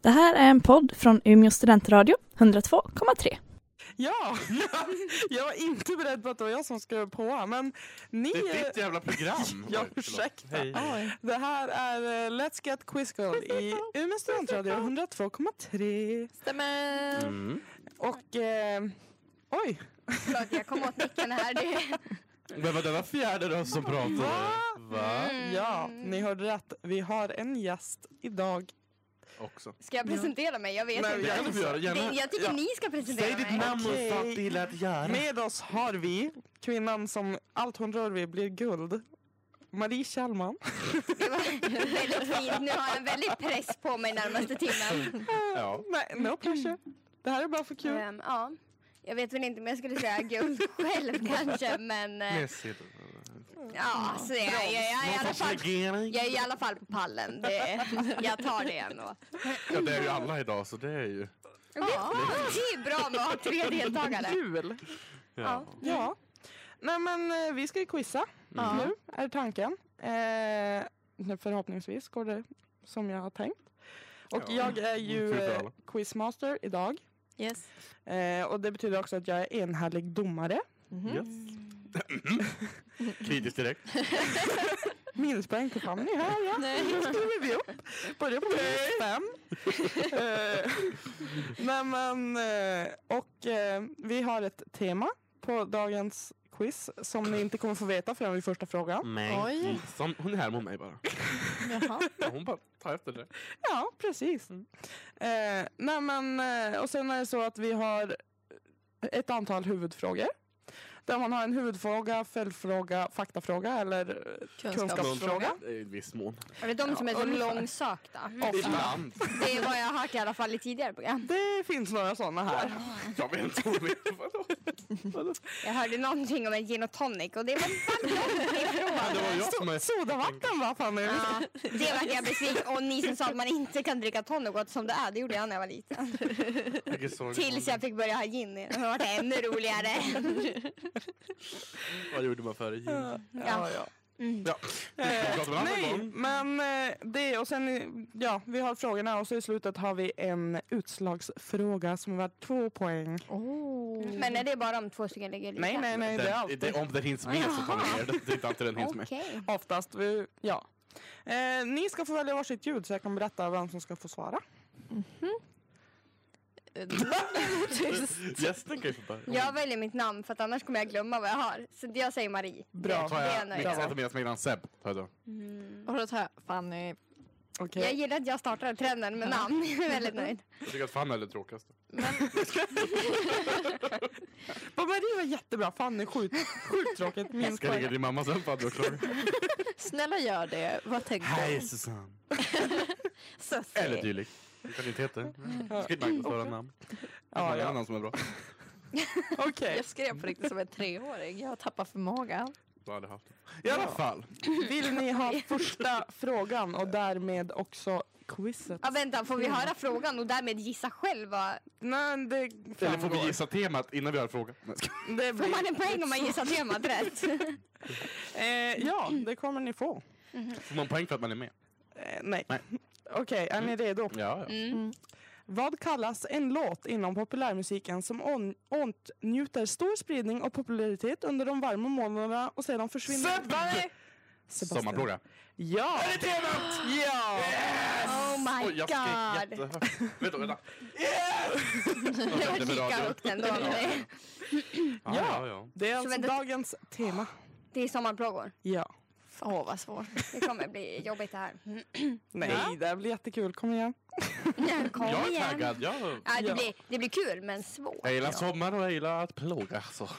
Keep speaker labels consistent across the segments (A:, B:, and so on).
A: Det här är en podd från Umeå studentradio, 102,3.
B: Ja, jag var inte beredd på att det var jag som skrev på. Men ni...
C: Det är ditt jävla program.
B: Ja,
C: Oj, förlåt.
B: ursäkta.
C: Hej.
B: Det här är eh, Let's Get Quiz Girl i Umeå studentradio 102,3.
D: Stämmer!
C: Mm.
B: Och... Eh, oj!
D: Förlåt, jag kom åt micken här. Det...
C: Men vad det var fjärde röst som pratade.
B: Va?
C: Va?
D: Mm.
B: Ja, ni hörde rätt. Vi har en gäst idag.
C: Också.
D: Ska jag presentera mig? Jag vet
B: Nej,
D: inte.
C: Det kan du få göra, gärna.
D: Det- Jag tycker
C: Ja.
D: ni ska presentera
C: Säg ditt
D: mig.
C: namn
B: Okej.
C: och fatt illa att göra.
B: Med oss har vi kvinnan som allt hon rör vid blir guld. Marie Kjellman.
D: Det var väldigt fint. Nu har jag en väldig press på mig närmaste
C: Mm.
D: timmen.
C: Ja.
B: Nej, no pressure. Det här är bara för kul.
D: Ehm, ja. Jag vet väl inte, men jag skulle säga guld själv kanske. Men eh,
C: Mässigt.
D: ja, så jag, jag, jag, är i
C: Någon
D: alla
C: sorts
D: fall,
C: regering.
D: jag är i alla fall på pallen. Det, jag tar det ändå.
C: Ja, det är ju alla idag så det är ju.
D: Ja, det är bra med att ha tre deltagare.
B: Kul!
D: Ja.
B: Ja. Nej men eh, vi ska ju quizza
C: Mm.
B: nu, är tanken. Eh, nu förhoppningsvis går det som jag har tänkt. Och
C: Ja,
B: jag är
C: det
B: ju
C: får vi
B: eh,
C: alla.
B: quizmaster idag. Eh, och det betyder också att jag är enhällig domare.
C: Yes.
D: Mm.
C: Kritiskt direkt.
B: Minuspoäng till Fanny här ja. Nu skriver vi upp. Börjar på minus fem. Eh, Nej men, eh, och eh, vi har ett tema på dagens quiz som ni inte kommer få veta förrän vid första frågan.
C: Nej. Mm. Som, hon är här mot mig bara. Ja, hon bara tar efter det.
B: Ja, precis. Eh, nej men, eh, och sen är det så att vi har ett antal huvudfrågor. Där man har en huvudfråga, följdfråga, faktafråga eller eh, kunskapsfråga.
C: I viss mån.
D: Är det de som är så
B: ungefär.
D: långsökta? Alltså,
C: Ibland.
D: Det är vad jag har hört i alla fall i tidigare program.
B: Det finns några sådana här.
C: Jag vet inte vad det är. Vadå?
D: Jag hörde någonting om en gin och tonic och det var fan långt
C: Ja, Det
D: ifrån.
C: var jag som är...
B: Sodavatten va Fanny?
D: Ja, det verkar jag besviken Och ni som sa att man inte kan dricka tonic åt som det är, det gjorde jag när jag var liten.
C: Vilken sorg.
D: Tills jag fick börja ha gin. Det var det ännu roligare.
C: Vad gjorde man före jul? Ja.
B: Ja, ja.
D: Mm.
C: Vi pratar med en annan
B: Nej,
C: gång.
B: men eh, det och sen, eh, ja, vi har frågorna och så i slutet har vi en utslagsfråga som är värd två poäng. Oh.
D: Men
E: eh,
D: är det bara om två stycken ligger lika?
B: Nej, nej, nej, det är
C: Den,
B: alltid
C: det, om den hinns med så tar vi ner den. Det är inte alltid den hinns med.
D: Okej.
B: oftast. Vi, ja. Eh, ni ska få välja varsitt ljud så jag kan berätta vem som ska få svara.
C: Gästen kan ju få börja.
D: Jag väljer mitt namn för att annars kommer jag glömma vad jag har. Så jag säger Marie.
B: Bra.
C: Då tar
D: Det är
C: jag
D: en
C: mitt
D: nöjd.
C: ett av mina smeknamn Seb. Tar jag då.
E: Och då tar jag Fanny.
B: Okej.
D: Jag gillar att jag startade trenden med namn. Jag är väldigt nöjd.
C: Jag tycker att Fanny är det tråkigaste.
B: Men Marie var jättebra. Fanny, sjukt sjukt tråkigt. Minst
C: Ska jag ringa
B: poäng.
C: din mamma sen Fanny och klaga?
E: Snälla gör det. Vad tänker
C: Hej
E: du?
C: Susanne.
E: Sussi.
C: Eller dylikt. Du kan inte heta det. Du ska inte marknadsföra namn. Det
B: Ja,
C: är någon
B: ja.
C: annan som är bra.
B: Okej,
E: Jag skrev på riktigt som en treåring. Jag tappar förmågan.
C: Då hade jag haft det. I alla fall.
B: vill ni ha första frågan och därmed också quizet?
D: Ja, vänta, får vi höra frågan och därmed gissa själv? Vad...
B: Nej, det
C: Eller får
B: framgår.
C: vi gissa temat innan vi har frågan? Nej, ska-
B: Det
D: Får
B: blir,
D: man en poäng om man gissar temat rätt?
B: eh, ja, det kommer ni få.
C: Får man poäng för att man är med?
B: Eh, nej.
C: Nej.
B: Okej, är ni redo?
D: Mm,
C: Ja, ja.
B: Vad kallas en låt inom populärmusiken som on- åtnjuter stor spridning och popularitet under de varma månaderna och sedan försvinner?
C: Sebbe!
B: Sebastian.
C: Sommarplåga.
B: Ja!
C: Är det temat?
B: Ja!
D: Oh my
C: Oj, jag skrek
D: god!
C: jättehögt. Vänta, vänta.
D: Jag
C: Det var
D: kika
C: radio.
D: högt ändå. Det-
C: Ja, ja, ja.
B: Det är alltså
D: vänta-
B: dagens tema.
D: Det är sommarplågor.
B: Ja.
E: Åh, oh, vad svårt.
D: Det kommer bli jobbigt det här. Mm.
B: Nej, det här blir jättekul. Kom igen.
D: Kom
C: Jag är
D: igen! Ah,
C: taggad. Jag,
D: Ja,
B: Ja.
D: det, blir, det blir kul, men svårt.
C: jag gillar sommar och jag gillar att plåga. alltså. Så.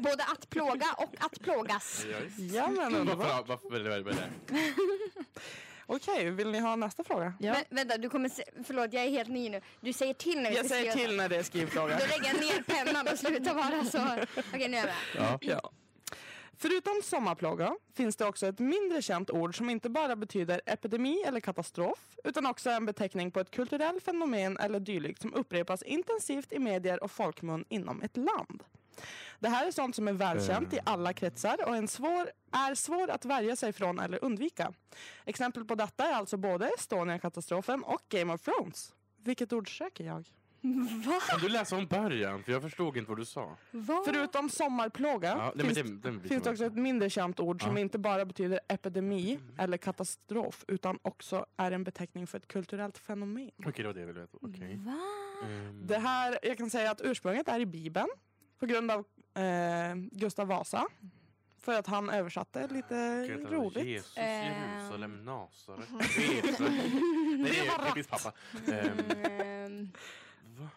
D: Både att plåga och att plågas.
C: Ja, visst.
B: Ja, men underbart.
C: Varför, varför vill du det?
B: Okej, vill ni ha nästa fråga?
E: Ja.
D: Vä- vänta, du kommer... se- Förlåt, jag är helt ny nu. Du säger till när vi
B: Jag
D: ska
B: säger
D: skriva.
B: till när det är skrivfråga.
D: Då lägger jag ner pennan och slutar vara så. Okej, nu är jag med.
C: Ja.
B: Ja. Förutom sommarplåga finns det också ett mindre känt ord som inte bara betyder epidemi eller katastrof utan också en beteckning på ett kulturellt fenomen eller dylikt som upprepas intensivt i medier och folkmun inom ett land. Det här är sånt som är välkänt
C: Eh.
B: i alla kretsar och en svår, är svår att värja sig från eller undvika. Exempel på detta är alltså både Estonia-katastrofen och Game of Thrones. Vilket ord söker jag?
C: Kan du läsa om början? För jag förstod inte vad du sa.
B: Förutom sommarplåga
C: Ja, nej, men
B: finns,
C: det, den biten
B: finns det
C: var-
B: också ett mindre känt ord som
C: Ja.
B: inte bara betyder epidemi eller katastrof utan också är en beteckning för ett kulturellt fenomen.
C: Okej, det var det jag ville veta. Okej. Ehm,
B: Det här, jag kan säga att ursprunget är i Bibeln på grund av eh, Gustav Vasa. För att han översatte lite
C: Gud, det var
B: roligt.
C: Jesus,
E: Ehm.
C: Jerusalem, Nasaret. Jesus. Nej, det är typiskt pappa. Ehm,
B: Mm.
D: Ehm,
C: va?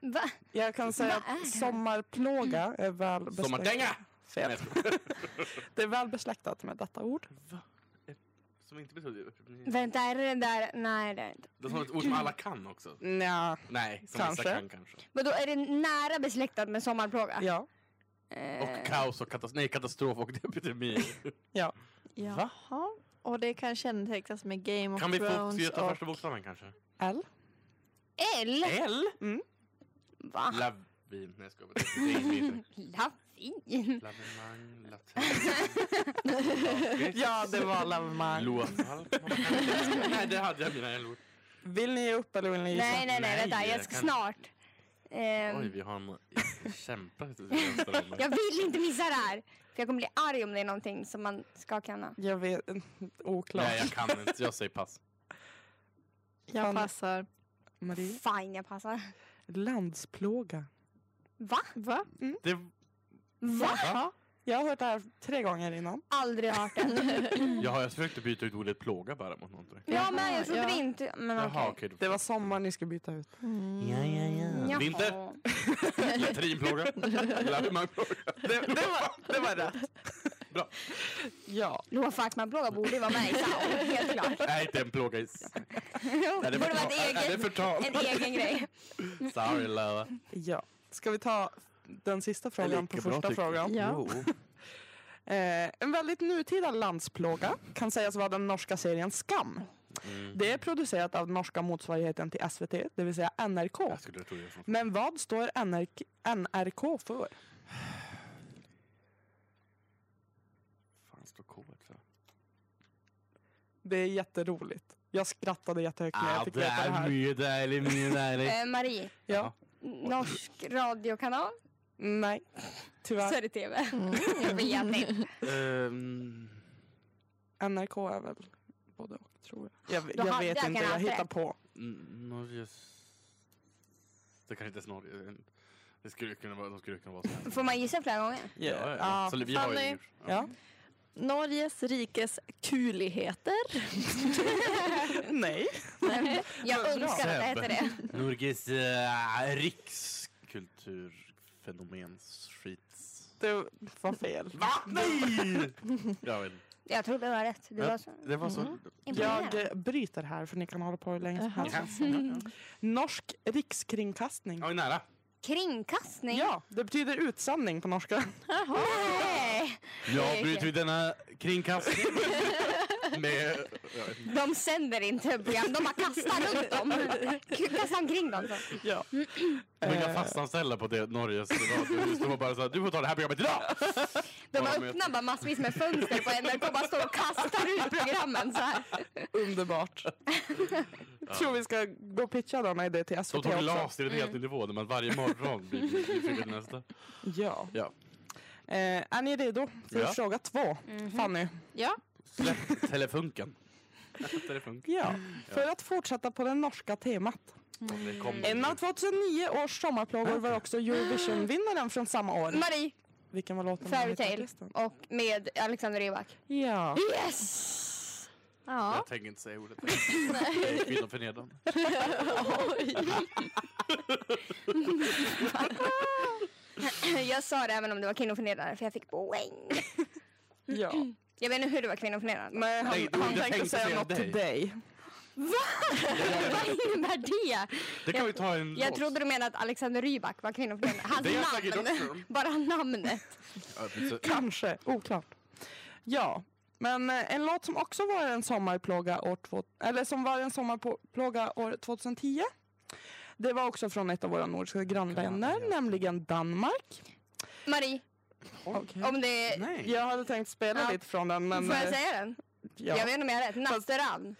D: Va?
B: Jag kan säga
D: Vad är
B: att
D: det?
B: sommarplåga är väl besläktat.
C: Sommardänga! Nej,
B: Fel.
C: jag skojar.
B: Det är väl besläktat med detta ord.
C: Va? Ehm, Som inte betyder...
D: Vänta, är det den där? Nej, det är det inte.
C: Det är ett ord som alla kan också.
B: Nja,
C: Nej, som
B: Kanske.
C: vissa kan kanske.
D: Vadå, är det nära besläktat med sommarplåga?
B: ja.
D: Eh,
C: Och kaos och katastrof, nej, katastrof och epidemi.
E: Jaha. Och det kan kännetecknas med Game of
C: Kan vi få
E: Thrones
C: ta
E: och...
C: första bokstaven kanske?
B: L. Mm.
D: L?
C: L?
D: Va?
C: Lavin. Nej, jag skojar. Det är inte.
D: Lavin?
C: Lavemang, latin.
B: Ja, det var lavemang.
C: Låtvalk. Nej, det hade jag mina L-ord.
B: Vill ni ge upp eller vill ni gissa?
D: Nej, nej, nej, vänta,
C: Nej,
D: jag ska
C: kan-
D: snart. Ehm,
C: Oj, vi har en kämpa. till vänster om mig.
D: jag vill inte missa det här. För jag kommer bli arg om det är någonting som man ska kunna.
B: Jag vet Oklart.
C: Nej, jag kan inte. Jag säger pass.
E: Jag
B: Fan.
E: passar.
B: Marie.
D: Fine, jag passar.
B: Landsplåga.
D: Va?
E: Va?
C: Det...
D: Va?
C: Va?
B: Jag har hört det här tre gånger innan.
D: Aldrig hört den.
C: Jag har jag försökte byta ut ordet plåga bara mot någonting.
D: Jag med, jag trodde
E: Ja.
D: det inte... Men okej.
C: Jaha, okej. då-
B: Det var sommar ni skulle byta ut.
C: Ja, ja, ja.
D: Jaha.
C: Vinter, latrinplåga, lavemangplåga.
B: Det, det, var, det var rätt.
C: Bra.
B: Ja.
D: Loa Falkman-plåga borde ju vara med i Sao, helt klart.
C: Nej, inte en plåga. i s- Nej,
D: det borde vara
C: förtal. Nej,
D: ett
C: det är
D: eget,
C: förtal.
D: en egen grej.
C: Sorry, Lava.
B: ja. Ska vi ta den sista frågan på första frågan?
E: Ja.
B: Eh, en väldigt nutida landsplåga kan sägas vara den norska serien Skam.
C: Mm.
B: Det är producerat av norska motsvarigheten till SVT, det vill säga NRK.
C: Jag skulle tro det. var från-
B: Men vad står NRK, NRK för?
C: Fan, står K för?
B: Det är jätteroligt. Jag skrattade jättehögt när
C: Ah,
B: jag fick
C: det
B: veta det
C: är
B: här.
C: mycket dejligt, mycket dejligt.
D: Eh, Marie,
B: Ja.
D: norsk radiokanal?
B: Nej, tyvärr.
D: Så är det TV.
B: Mm.
D: Jag vet inte.
C: Ehm,
B: NRK är väl både och tror jag. Jag,
D: Då
B: jag
D: hade
B: vet
D: jag
B: inte,
D: kunnat
B: jag
D: haft
B: hittar
D: rätt.
B: på.
C: N- Norges... Det kanske inte är Norge. Det skulle kunna vara, de skulle kunna vara så här.
D: Får man gissa flera gånger?
C: Ja, ja, ja. Så vi har ju
E: Fanny.
C: gjort-
B: Ja.
E: Norges rikes kuligheter.
B: Nej.
D: Jag
B: Bra.
D: önskar att det hette det.
C: Norges eh, rikskulturfenomenskit.
B: Det var fel.
C: Va? Nej! Jag vet inte.
D: Jag trodde det var rätt. Det var så
C: Det var så...
B: Jag
D: imponerande.
B: eh, bryter här för ni kan hålla på hur länge som
E: Jaha.
B: helst.
C: Ja, ja.
B: Norsk rikskringkastning.
C: Ja, vi är nära.
D: Kringkastning?
B: Ja, det betyder utsändning på norska.
D: Nej.
C: Jag bryter vid denna kringkastning. Med... Jag vet inte.
D: De sänder inte program, de bara kastar runt dem. Kastar omkring dem. så.
B: Ja.
C: Men jag
B: Eh,
C: fastanställda på det Norges radiohus. De var bara så här, du får ta det här programmet idag!
D: De
C: Ja,
D: bara
C: men-
D: öppnar bara massvis med fönster på NRK och bara står och kastar ut programmen så här.
B: Underbart. Jag tror vi ska gå och pitcha denna idé till
C: De
B: SVT
C: tog
B: också.
C: LAS till en helt ny nivå när man varje morgon blir nyfiken på nästa.
B: Ja.
C: Ja.
B: Eh, är ni redo för
C: Ja.
B: fråga två? Fanny?
E: Ja.
C: Släpp telefunken. Telefunken.
B: Ja. För att fortsätta på det norska temat.
C: Det kom
B: En av 2009 års sommarplågor var också Eurovision-vinnaren från samma år.
D: Marie,
B: Vilken var låten?
D: Fairy
B: Heter
D: Tail
B: artisten?
D: och med Alexander Rybak.
B: Ja.
D: Yes!
E: Ja.
C: Jag tänker inte säga ordet. Det är Kvinnoförnedrande.
D: Jag sa det även om det var kvinnoförnedrande för jag fick poäng.
B: ja.
D: Jag vet inte hur det var kvinnoförnedrande.
B: Nej, han,
C: Nej, du-
B: han
C: jag
B: tänkte
C: tänkte
B: säga
C: säga
B: något
C: dig.
B: till dig.
D: Vad innebär det?
C: Det kan vi ta i en
D: Jag
C: låt.
D: trodde du menade att Alexander Rybak var kvinnoförnedrande. Hans
C: Det är jag säkert också.
D: namn. Bara namnet.
C: Ja, precis.
B: Kanske, oklart. Ja, men eh, en låt som också var en sommarplåga år två, eller som var en sommarplåga år 2010. Det var också från ett av våra nordiska grannländer,
C: Grannländer.
B: nämligen Danmark.
D: Marie,
B: Okej.
D: om det...
C: Nej.
B: Jag hade tänkt spela
D: Ja.
B: lite från den, men...
D: Får jag
B: eh,
D: säga den?
B: Ja.
D: Jag vet inte om jag har rätt. Natteravn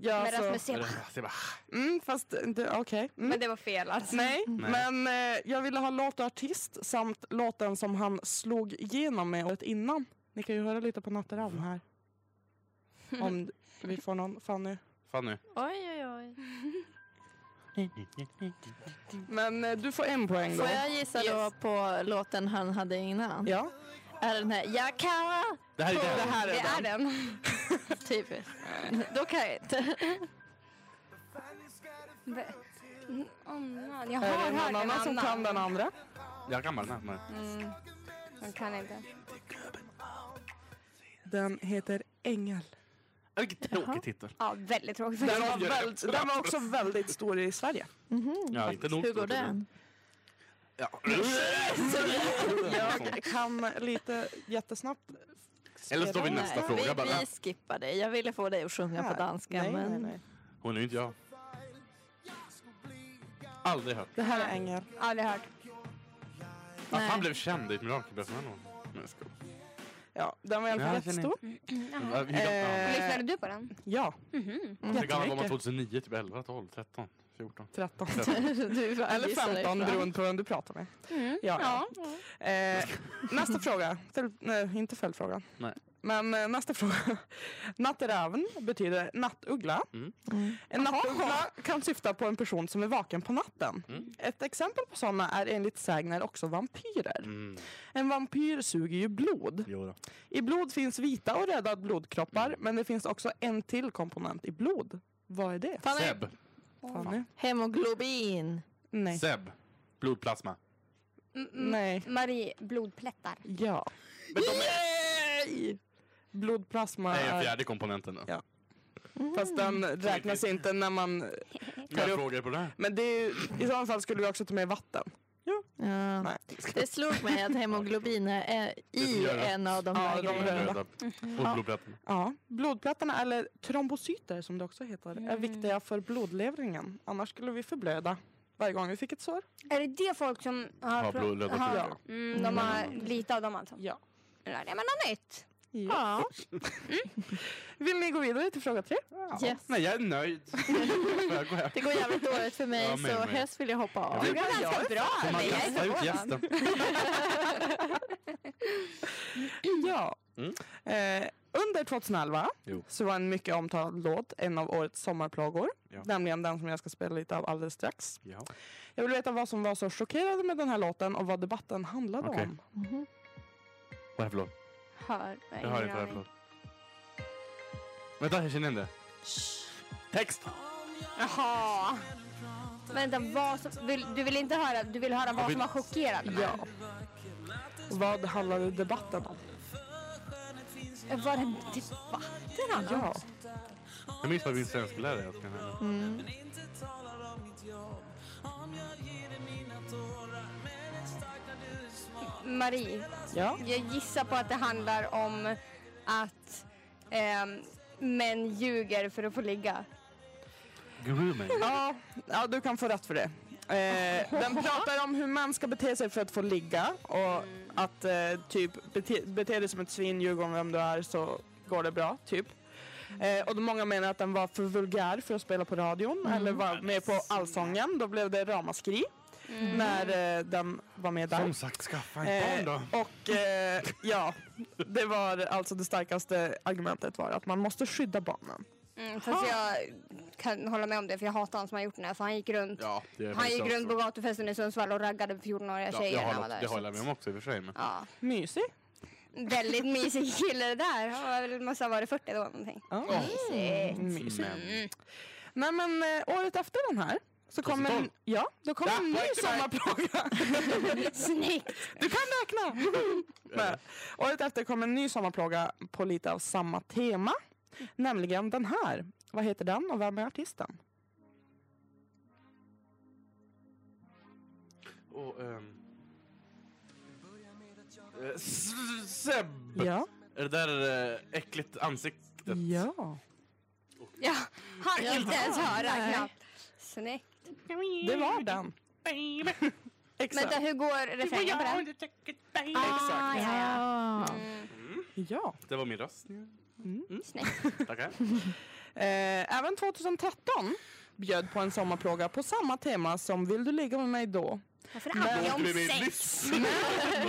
B: Ja,
D: med
B: alltså,
D: Rasmus
C: Är
D: Seba.
C: det- det är bara-
B: Mm, fast det- okej. Mm.
D: Men det var fel alltså.
B: Nej,
C: Nej.
B: men eh, jag ville ha låt och artist samt låten som han slog igenom med året innan. Ni kan ju höra lite på Natteravn här. Om vi får någon Fanny.
C: Fan nu.
E: Oj, oj, oj.
B: Men eh, du får en poäng då. Eh,
E: Får jag gissa då
D: Yes.
E: på låten han hade innan?
B: Ja.
E: Är det den här Jag kan
C: Det här är
B: Det
C: det.
B: här
D: Det
B: är
D: är
B: den.
D: den.
E: Typ. Då kan jag inte.
D: Ve- Åh, man, jag
B: Är
D: har
B: det någon
D: hört en
B: annan som kan den andra?
C: Jag kan bara den här. men-
D: Mm. Jag kan inte.
B: Den heter Ängel.
C: Vilken tråkig titel.
D: Ja, väldigt tråkigt.
B: Den var,
C: gör
B: väldigt, den var också väldigt stor i Sverige.
C: Ja, inte nog
E: Hur går
C: stor titel.
E: den?
C: Ja.
B: Jag kan lite jättesnabbt.
C: Eller så tar vi
B: spela.
C: nästa
E: Nej,
C: fråga
E: vi,
C: bara.
E: vi skippar det. Jag ville få dig att sjunga
B: Här.
E: på danska
B: Nej,
E: men
B: nej, nej.
C: Hon är ju inte jag. Aldrig hört.
B: Det här är Ängel.
D: Aldrig hört.
C: Att han
E: Nej.
C: blev känd i ett mirakel blev han nog. Nej, jag skojar.
B: Ja, den var i alla fall
C: Ja, jag känner-
B: jättestor.
C: Ja, hur gammal var han?
B: Eh,
D: Mm. Lyssnade du på den?
B: Ja, Mm-hmm.
E: Mm.
C: Hur gammal var man
B: jättemycket.
C: 2009? Typ 11, 12, 13, 14?
B: 13.
E: du bara
B: Eller
E: gissar dig fram.
B: 15 beroende på vem du pratar med. Ja, ja. Eh, nästa fråga. Följ- nej, inte följdfrågan.
C: Nej.
B: Men eh, nästa fråga. Natteravn betyder nattuggla.
C: Mm.
E: Mm.
B: En nattuggla kan syfta på en person som är vaken på natten.
C: Mm.
B: Ett exempel på sådana är enligt sägner också vampyrer.
C: Mm.
B: En vampyr suger ju blod.
C: Jo då.
B: I blod finns vita och röda blodkroppar,
C: Mm.
B: men det finns också en till komponent i blod. Vad är det?
E: Fan,
C: Seb.
B: Fanny?
E: Hemoglobin.
B: Nej.
C: Seb. Blodplasma.
D: Mm, mm.
B: Nej.
D: Marie, blodplättar.
B: Ja.
C: Men de är...
B: Nej! Blodplasma
C: Nej, den
B: är...
C: fjärde Mm. komponenten då.
B: Ja. Fast den räknas inte när man...
C: Inga frågor på det här.
B: Men det är ju, i så fall skulle vi också ta med vatten.
E: Ja.
B: Nej.
E: Det slog mig att hemoglobin är i
C: gör det.
E: en av de
B: Ja,
E: där
B: de
E: grejerna.
B: röda.
C: Röda. Och blodplättarna.
B: Ja. Blodplättarna, eller trombocyter som det också heter, är
D: Mm.
B: viktiga för blodlevringen. Annars skulle vi förblöda varje gång vi fick ett sår.
D: Är det det folk som har...
C: Ja,
D: pro-
C: blodröda
D: har-
C: blodplättar.
D: Mm, de har lite av dem alltså.
B: Ja.
D: Nu lärde jag mig något nytt.
E: Ja.
B: Mm. Vill ni gå vidare till fråga tre?
E: Yes.
C: Nej, jag är nöjd. Får jag gå hem?
E: Det går jävligt dåligt för mig
C: Ja, men,
E: så
C: men.
E: helst vill jag hoppa av.
C: Jag
D: Det var
B: jag är
D: ganska bra.
C: Man
D: men jag är
C: kastar ut
D: förvånad.
C: gästen.
B: Ja.
C: Mm.
B: Eh, under 2011
C: Jo.
B: så var en mycket omtalad låt en av årets sommarplågor.
C: Ja.
B: Nämligen den som jag ska spela lite av alldeles strax.
C: Ja.
B: Jag vill veta vad som var så chockerande med den här låten och vad debatten handlade
C: Okej.
B: om.
C: Vad är det för låt?
D: Hör, jag har
C: Jag hör inte vad det är för låt. Vänta, jag känner igen det. Text!
D: Jaha. Vänta, vad som, vill, du vill inte höra, du vill höra vad
C: vill-
D: som har chockerat mig?
B: Ja. Vad handlade debatten om?
D: Var Eh, det debatten han
B: Ja.
C: Jag minns vad min svensklärare jag ska nämna.
E: Mm.
D: Marie,
B: ja.
D: jag gissar på att det handlar om att ehm, män ljuger för att få ligga.
C: Grooming.
B: Ja, ja, du kan få rätt för det. Eh, den pratar om hur man ska bete sig för att få ligga och att eh, typ bete, bete dig som ett svin, ljug om vem du är så går det bra, typ. Eh, och då många menar att den var för vulgär för att spela på radion eller var med på Allsången. Då blev det ramaskri
D: Mm.
B: när eh, den var med där.
C: Som sagt, skaffa
B: Eh,
C: ett barn då.
B: och eh, ja, det var alltså det starkaste argumentet var att man måste skydda barnen.
D: Mm, fast jag kan hålla med om det för jag hatar han som har gjort den här för han gick runt,
C: Ja, det är
D: han
C: faktiskt
D: gick
C: också.
D: runt på gatufesten i Sundsvall och raggade på 14-åriga
C: Ja,
D: tjejer
C: jag
D: när han var
C: håller,
D: där.
C: Det
D: så
C: håller jag med
D: att-
C: om också i och för sig. Men.
D: Ja,
B: Mysig.
D: väldigt mysig kille det där. Han var väl- måste ha varit 40 då någonting. Mm.
B: Ja.
D: Mysigt.
B: Mysigt.
C: Men.
B: Nej men eh, året efter den här så kom en,
C: 2012.
B: ja, då kom
C: Ja,
B: en ny
C: poäng till mig.
B: sommarplåga.
D: Snyggt!
B: Du kan räkna!
C: Eh,
B: Men, året efter kom en ny sommarplåga på lite av samma tema. Nämligen den här. Vad heter den och vem är artisten?
C: Och, ehm, eh, S- Seb!
B: Ja.
C: Är det där eh, äckligt ansiktet?
B: Ja.
D: Ja, han
E: Jaha,
D: inte ens höra
E: nej.
D: knappt. Snyggt.
B: Det var den. Exakt.
D: Vänta, hur går refrängen på den?
B: Exakt.
D: Ah, ja,
E: Ja.
D: ja. Mm,
B: Ja.
C: Det var min röst.
B: Mm.
C: Mm.
D: snyggt.
C: Tackar.
B: Eh, även 2013 bjöd på en sommarplåga på samma tema som Vill du ligga med mig då?
D: Varför handlar det
C: Låt mig
D: om
C: med
D: sex?
C: lyss.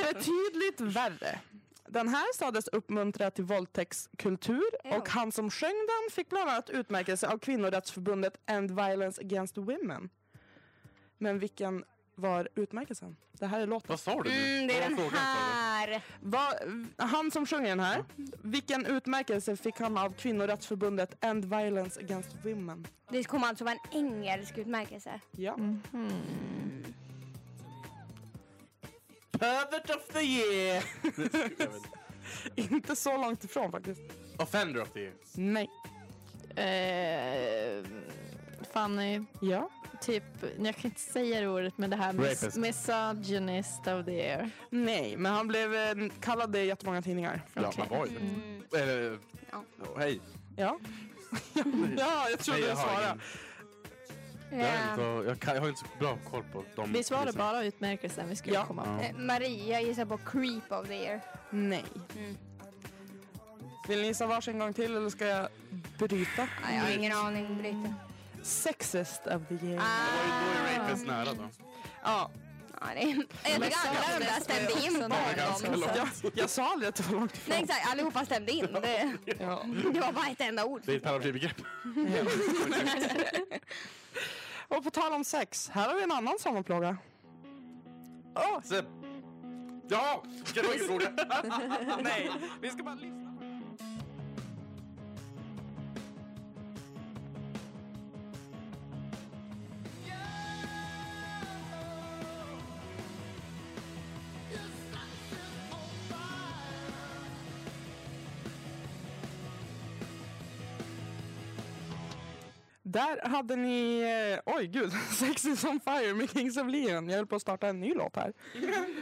B: Betydligt värre. Den här sades uppmuntra till våldtäktskultur
D: Ew.
B: och han som sjöng den fick bland annat utmärkelse av kvinnorättsförbundet End Violence Against Women. Men vilken var utmärkelsen? Det här är låten.
C: Vad sa du nu?
D: Mm, det är
C: Vad var
D: den
C: frågan, sa du?
D: här.
B: Va, han som sjunger den här, vilken utmärkelse fick han av kvinnorättsförbundet End Violence Against Women?
D: Det kommer alltså vara en engelsk utmärkelse.
B: Ja.
E: Mm-hmm.
B: Pervert of the year!
C: Jag vet.
B: Inte så långt ifrån faktiskt.
C: Offender of the year.
B: Nej.
E: Eh, Fanny,
B: Ja.
E: typ, jag kan inte säga det ordet, men det här med
C: Rapist.
E: misogynist of the year.
B: Nej, men han blev eh, kallad det i jättemånga tidningar.
C: Ja,
E: Okej.
C: man var ju det.
D: Mm.
C: Eller...
D: Ja.
C: ja, Eh, oh, Hej.
B: Ja. ja, jag trodde
C: Nej,
B: du
C: har
B: svarade.
C: ingen- Jag, har inte,
D: Eh,
C: jag, kan, jag har inte så bra koll på dem.
E: Vi svarade bara utmärkelsen vi skulle
B: Ja.
E: komma på.
D: eh, Maria gissar på Creep of the Year.
B: Nej.
D: Mm.
B: Vill ni gissa varsin gång till eller ska jag bryta?
D: Nej, jag har ingen aning. Bryter.
B: Sexist of the year.
C: Det var ju då
D: Ah.
C: är rapist nära då.
B: Ja,
D: Ja, det är... Jag tycker alla de där stämde in på
E: Det var ganska
D: honom.
E: långt.
B: jag, jag sa aldrig att det var långt ifrån.
D: Nej exakt, allihopa stämde in. Det,
B: Ja.
D: det var bara ett enda ord.
C: Det är ett paraplybegrepp.
B: Och på tal om sex, här har vi en annan sommarplåga. Åh,
C: Så- Ja! Vilken rolig fråga.
B: nej, vi ska bara lyssna. Där hade ni, eh, oj gud, Sex is on fire med Kings of Leon. Jag höll på att starta en ny låt här,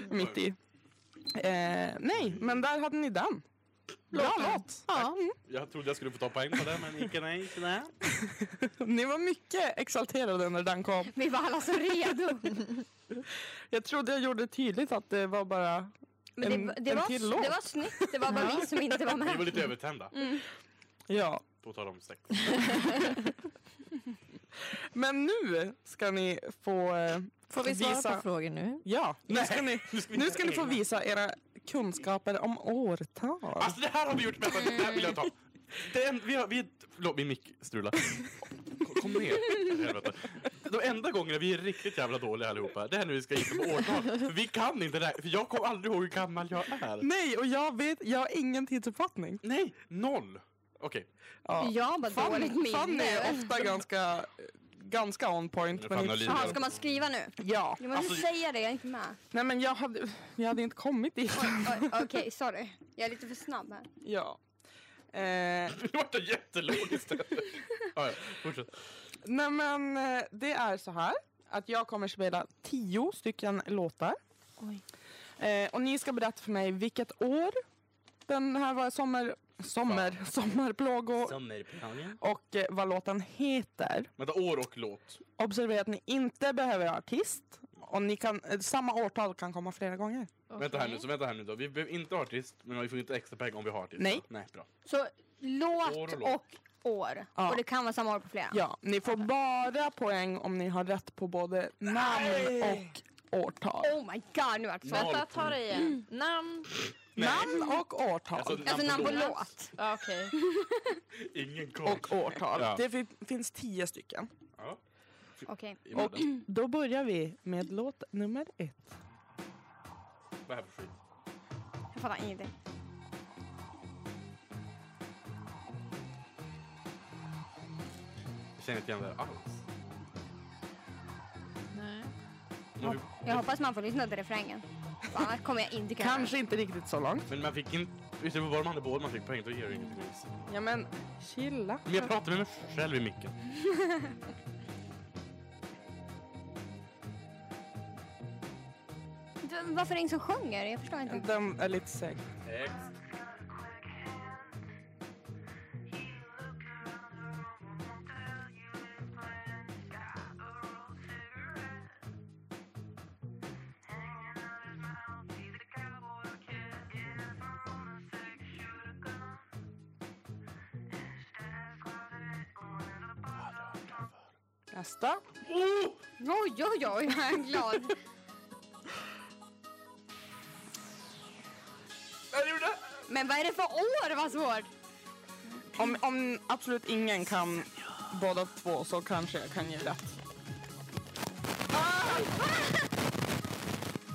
B: mitt i. Eh, nej, men där hade ni den. Bra låt! mm.
E: Ja.
C: Jag trodde jag skulle få ta poäng på det, men icke nej, icke nej.
B: Ni var mycket exalterade när den kom.
D: Vi var alla så redo.
B: Jag trodde jag gjorde tydligt att det var bara...
D: Men det,
B: En-
D: det,
B: en
D: var,
B: till låt.
D: det var snyggt, det var bara vi som inte var
C: Vi var
D: med.
C: lite övertända.
B: Ja.
C: På tal om sex.
B: Men nu ska ni få... eh,
E: Får vi svara
B: visa,
E: på frågor nu?
B: Ja, nu ska, ni,
C: Nu ska vi
B: nu
C: inte
B: ska ni få
C: ägna-
B: visa era kunskaper om årtal.
C: Alltså det här har vi gjort med, det här vill jag ta. Den, vi har, vi, förlåt, min mick strulade. Kom ner. Helvete. De enda gångerna vi är riktigt jävla dåliga allihopa, det är när vi ska gissa på årtal. För vi kan inte det här, för jag kommer aldrig ihåg hur gammal jag är.
B: Nej, och jag vet, jag har ingen tidsuppfattning.
C: Nej, noll. Okej.
B: Ja.
D: Jag bara dåligt
B: Fanny, Fanny är
D: minne.
B: ofta ganska, ganska on point.
C: Eller
B: Men
C: Fanny
B: inte,
C: Olin.
D: Jaha, ska man skriva nu?
B: ja.
D: Du måste
C: Alltså-
D: säga det, jag är inte med.
B: Nej, men jag hade, jag hade inte kommit dit.
D: Oj, oj, Okej, sorry. Jag är lite för snabb här.
B: Ja. Eh,
C: Det vart en jättelång istället. Ja, ja, fortsätt.
B: Nej men eh, det är så här att jag kommer spela tio stycken låtar. Eh, och ni ska berätta för mig vilket år den här var sommar, sommar, sommarplågo
C: Sommarplanen.
B: och eh, vad låten heter.
C: Vänta, år och låt.
B: Observera att ni inte behöver artist och ni kan, eh, samma årtal kan komma flera gånger.
C: Vänta här nu, så vänta här nu då. Vi behöver inte ha artist, men vi får inte extra pengar om vi har artist.
B: Nej.
C: Nej, bra.
D: Så
C: År och
D: låt och
C: låt.
D: år. år.
B: Ja.
D: Och det kan vara samma år på flera.
B: Ja, ni får bara poäng om ni har rätt på både namn och årtal.
D: Oh my god, nu vart det så.
C: Noll.
E: Vänta, ta det igen. Namn.
C: Nej.
B: Namn och årtal.
C: Alltså,
D: Alltså
C: namn
D: namn
C: på
D: på
C: låt.
D: låt.
E: Ja, Okej.
C: Ingen koll.
B: och årtal.
C: Ja.
B: Det fin- finns tio stycken.
C: Ja.
D: Okej.
C: i modden.
B: Då börjar vi med låt nummer ett.
C: Vad är det här för skit?
D: Jag fattar ingenting.
C: Jag känner inte igen det här alls.
E: Nej.
C: Men,
D: Jag hoppas man får lyssna till refrängen. För Annars kommer jag inte kunna.
B: Kanske inte riktigt så långt.
C: men man fick inte... Visst, det var bara man hade båda man fick poäng, då ger det ingenting.
B: Ja men chilla.
C: Men jag pratar med mig själv i micken.
D: Du, Varför är det ingen som sjunger? Jag förstår inte.
B: Den är lite seg. Nästa.
C: Oh!
D: Oj, oj, oj, jag är glad.
C: Jag gjorde!
D: Men vad är det för år? Vad svårt.
B: Om, om absolut ingen kan båda två så kanske jag kan ge rätt. Ah!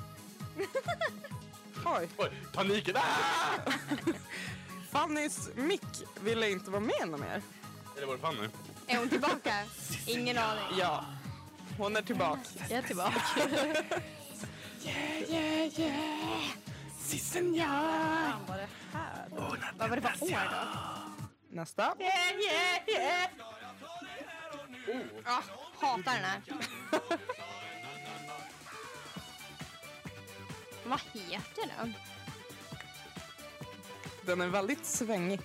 B: Oj,
C: Oj, paniken! Ah!
B: Fannys mick ville inte vara med någon mer.
C: Eller var det Fanny?
D: Är hon tillbaka? Ingen aning.
B: Ja, hon är tillbaka.
E: Jag är tillbaka.
B: Yeah, yeah. Si, senor.
E: Vad var det här?
D: Vad var det för år då?
B: Nästa.
D: Ah, hatar den här. vad heter den?
B: Den är väldigt svängig.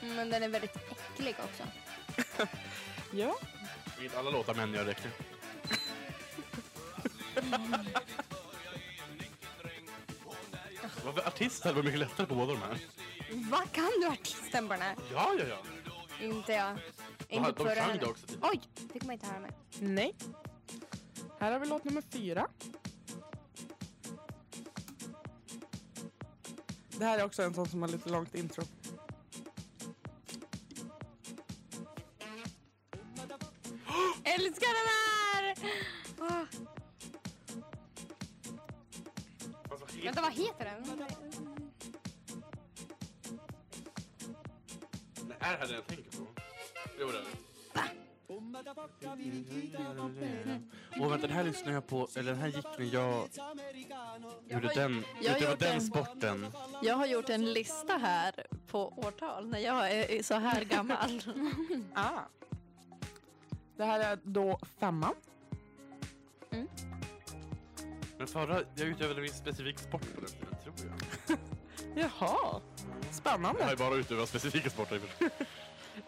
D: Men Mm, den är väldigt äcklig också.
B: Ja.
C: Vill alla låtar män gör räcker. Vad för artist hade varit mycket lättare på båda de här.
D: Vad kan du artisten på den här?
C: Ja, ja, ja.
D: Inte jag.
C: Jaha,
D: Inte
C: de
D: på
C: sjöng
D: den.
C: det också tidigare.
D: Oj, fick man inte höra med.
B: Nej. Här har vi låt nummer fyra. Det här är också en sån som har lite långt intro.
D: Älskar den här! Ah,
C: Fast vad heter-
D: vänta, vad heter den?
C: Nej, Är det här det jag tänker på? Jo, det är det. Åh, vänta, den här lyssnade jag på, eller den här gick när jag gjorde den,
E: jag
C: utöver
E: gjorde-
C: den sporten.
E: Jag har gjort en lista här på årtal när jag är så här gammal.
B: Ah. Det här är då femman.
C: Men förra, jag utövade en specifik sport på den tiden, tror jag.
B: Jaha.
C: Jag har
B: Spännande.
C: ju bara utövat specifika sporter. i och för sig.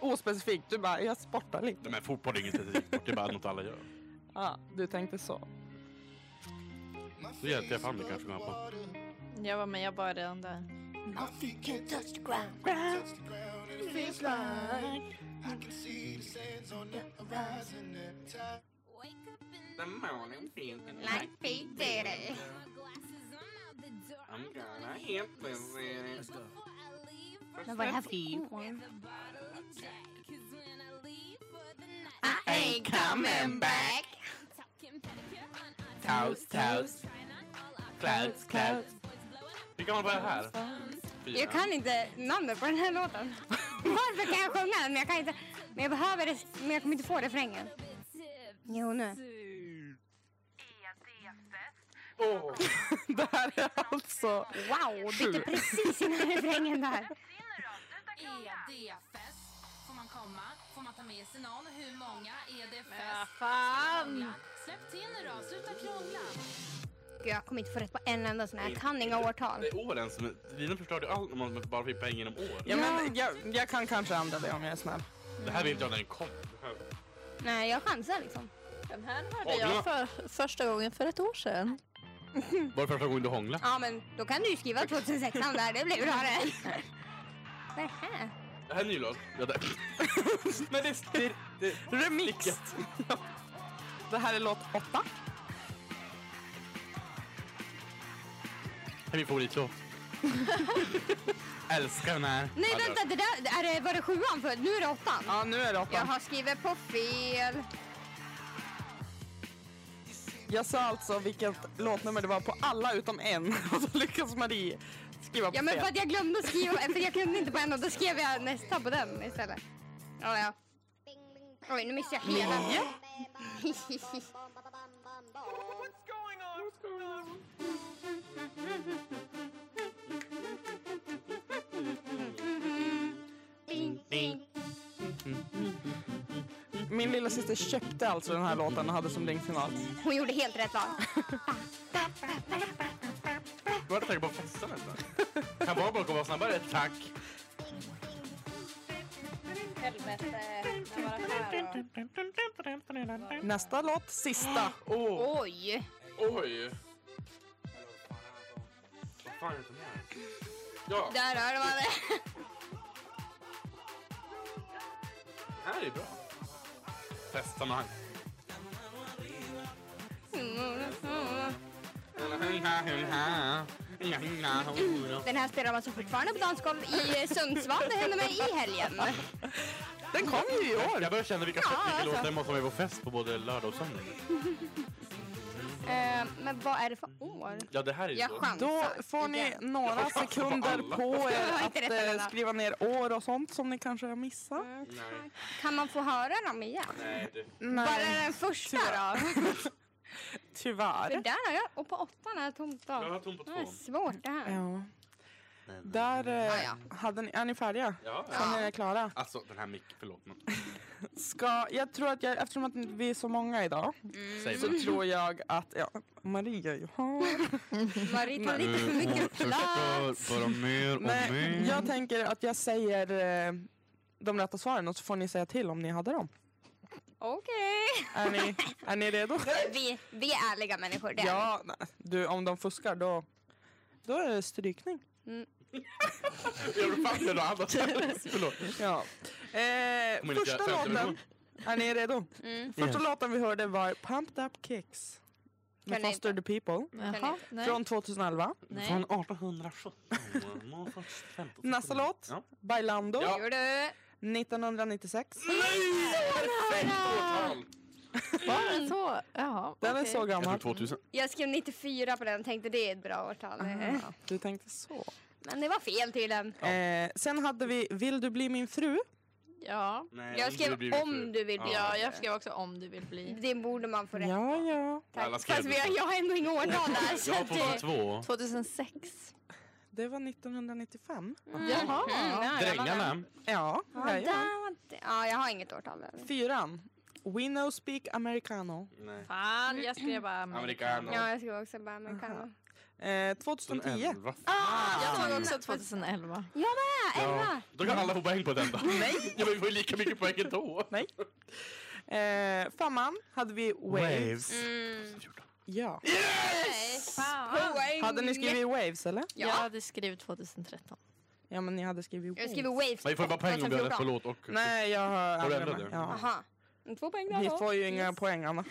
B: Ospecifikt. Du bara, jag sportar lite.
C: Nej, men fotboll är ingen specifik sport, det är bara något alla gör.
B: Ah, du tänkte så.
C: Då hjälpte jag Fanny kanske med på.
E: Jag var med, jag var redan där.
D: Like Pete did it. Men vad är det här för år? I ain't coming back.
C: Toast, toast. Clouds, clouds. Hur kan man börja här? Fyra.
D: Jag kan inte namnet på den här låten. Varför kan jag sjunga den? Men jag kan inte. Men jag behöver det, men jag kommer inte få refrängen. Jo, nu.
C: Åh,
B: Det här är alltså...
D: Wow, bytte precis innan refrängen där.
F: Är det fest? Får man komma? Får man ta med sig någon? Hur många? Är det
E: Ah,
F: fest?
E: fan!
F: Släpp till nu då, sluta krångla!
D: Gud, jag kommer inte få rätt på en enda sån här. Jag kan inga årtal.
C: Det är åren som... Lina förstörde ju allt om man bara fick poäng genom år.
B: Ja, men jag, jag kan kanske ändra det om jag är snäll.
C: Det här vill inte jag när den kom.
D: Nej, jag chansar liksom.
E: Den här hörde jag för, första gången för ett år sedan.
C: Var det första gången du hånglade?
D: Ja, men då kan du ju skriva 2016 där. Det blir bra det. Vad är det här?
C: Det här är en ny låt. Ja, det...
B: Men det, det, Remixed. det här är låt åtta.
C: Det är min favoritlåt. Älskar den här.
D: Nej,
C: Ja, det-
D: vänta. Det där, är det, var det sjuan för? Nu är det åttan.
B: Ja, nu är det
D: Jag
B: åttan.
D: har skrivit på fel.
B: Jag sa alltså vilket låtnummer det var på alla utom en. Och så lyckas Marie skriva på
D: Ja, men för
B: fel.
D: att jag glömde att skriva, för jag kunde inte på en och då skrev jag nästa på den istället. Ja, ja. Oj, nu missade jag hela. Mm.
B: Min lilla syster köpte alltså den här låten och hade som ringsignal.
D: Hon gjorde helt rätt val.
C: Var det tänkt på festen nästan? Kan vara bakom och vara snabbare? Tack.
B: Nästa låt, sista.
C: Åh,
D: Oj!
C: oj. Vad fan heter den här? Ja, den
D: Där hörde man det.
C: här är bra. Festsammanhang.
D: Den här spelar man så fortfarande på dansgolv i eh, Sundsvall. Det hände mig i helgen.
B: Den kom ju i år.
C: Jag börjar känna vilka,
D: Ja,
C: vilka
D: alltså.
C: låtar man som är på fest på både lördag och söndag.
D: Eh, men vad är det för år?
C: Ja, det här är ju
D: Jag
C: så.
B: Då
D: chansar.
B: får ni några sekunder på er
D: Inte
B: att
D: rätt
B: eh,
D: enda.
B: skriva ner år och sånt som ni kanske har missat.
C: Nej,
D: Kan man få höra dem igen?
C: nej, det...
D: Bara den första
B: tyvärr.
D: då? För
B: Tyvärr.
D: där har jag, och på åttan är det tomt
C: Jag
D: då.
C: har tom på
D: Det är
C: två.
D: svårt det här.
B: Ja. Där eh,
D: Ah, ja.
B: hade ni, är ni färdiga?
C: Ja, ja.
B: Känner ni er klara?
C: Alltså, den här micken, förlåt. Men,
B: Ska, jag tror att jag, eftersom att vi är så många idag
D: Mm.
C: säg
B: så
C: bara.
B: tror jag att ja, Maria Johan.
D: Marie tar lite för
B: Mm.
D: mycket plats.
C: bara mer och
B: Men jag tänker att jag säger eh, de rätta svaren och så får ni säga till om ni hade dem.
D: Okej.
B: Är ni, är ni redo?
D: Vi, vi är ärliga människor. Det är vi.
B: Ja, nej. du om de fuskar då, då är det strykning.
C: Jag vill fan göra något annat. Förlåt.
B: Ja. Eh,
C: Kommer lite
B: första
C: femte
B: låten,
C: version.
B: är ni redo?
D: Mm.
B: Första låten vi hörde var Pumped Up Kicks med
D: Kan ni
B: Foster the People
E: Jaha, nej.
B: från 2011.
E: nej.
C: Från 1817. Må först vänta.
B: Nästa låt,
C: Ja.
B: Bailando,
C: Ja.
D: Gjorde du?
B: 1996.
C: Åtal!
E: Var det så? Jaha,
B: Den är
E: okej.
B: så
C: Jag tror
B: gammal.
C: 2000.
D: Jag skrev 94 på den och tänkte det är ett bra årtal.
B: Ah, du tänkte så.
D: Men det var fel tydligen.
B: Eh, sen hade vi Vill du bli min fru?
E: Ja.
C: Nej,
D: Mm. Jag skrev
C: det blir vi
D: om
C: för-
D: du vill bli.
E: ja, jag skrev också om du vill bli.
D: Det borde man få rätt
B: Ja, ja.
D: Tack.
C: Alla skrev
D: Fast vi
C: det.
D: har, jag har ändå inga årtal där. Så
C: Jag har
D: att, eh,
C: 2002.
E: 2006.
B: Det var 1995.
E: Mm. Jaha.
C: Drängarna.
B: Ja,
D: Mm. ja, där
B: jajamän.
D: var det- ja, jag har inget årtal. där.
B: Fyran. We no speak americano.
C: Nej.
E: Fan, jag skrev bara
C: Americano.
D: Ja, jag skrev också bara americano.
B: Eh, 2010.
C: Ah,
E: Jag såg också 2011.
D: Jag med! Elva!
C: Då kan alla få poäng på den då. Nej! Ja, men vi får ju lika mycket poäng ändå.
B: Nej. Eh, femman hade vi Waves.
D: Mm.
B: Ja.
D: Yes!
E: Fan.
B: Hade ni skrivit Waves eller?
E: Jag hade skrivit 2013.
B: Ja, men ni hade skrivit Waves.
D: Jag skrev Waves.
C: Men vi får bara poäng om vi har rätt på
D: 2014.
C: låt och...
B: Nej, jag har...
C: Har du
B: ändrat
C: ändrat
B: mig.
C: det?
B: Ja.
D: Aha. Mm, Två poäng där
B: Ni
D: då.
B: får ju inga poäng annars.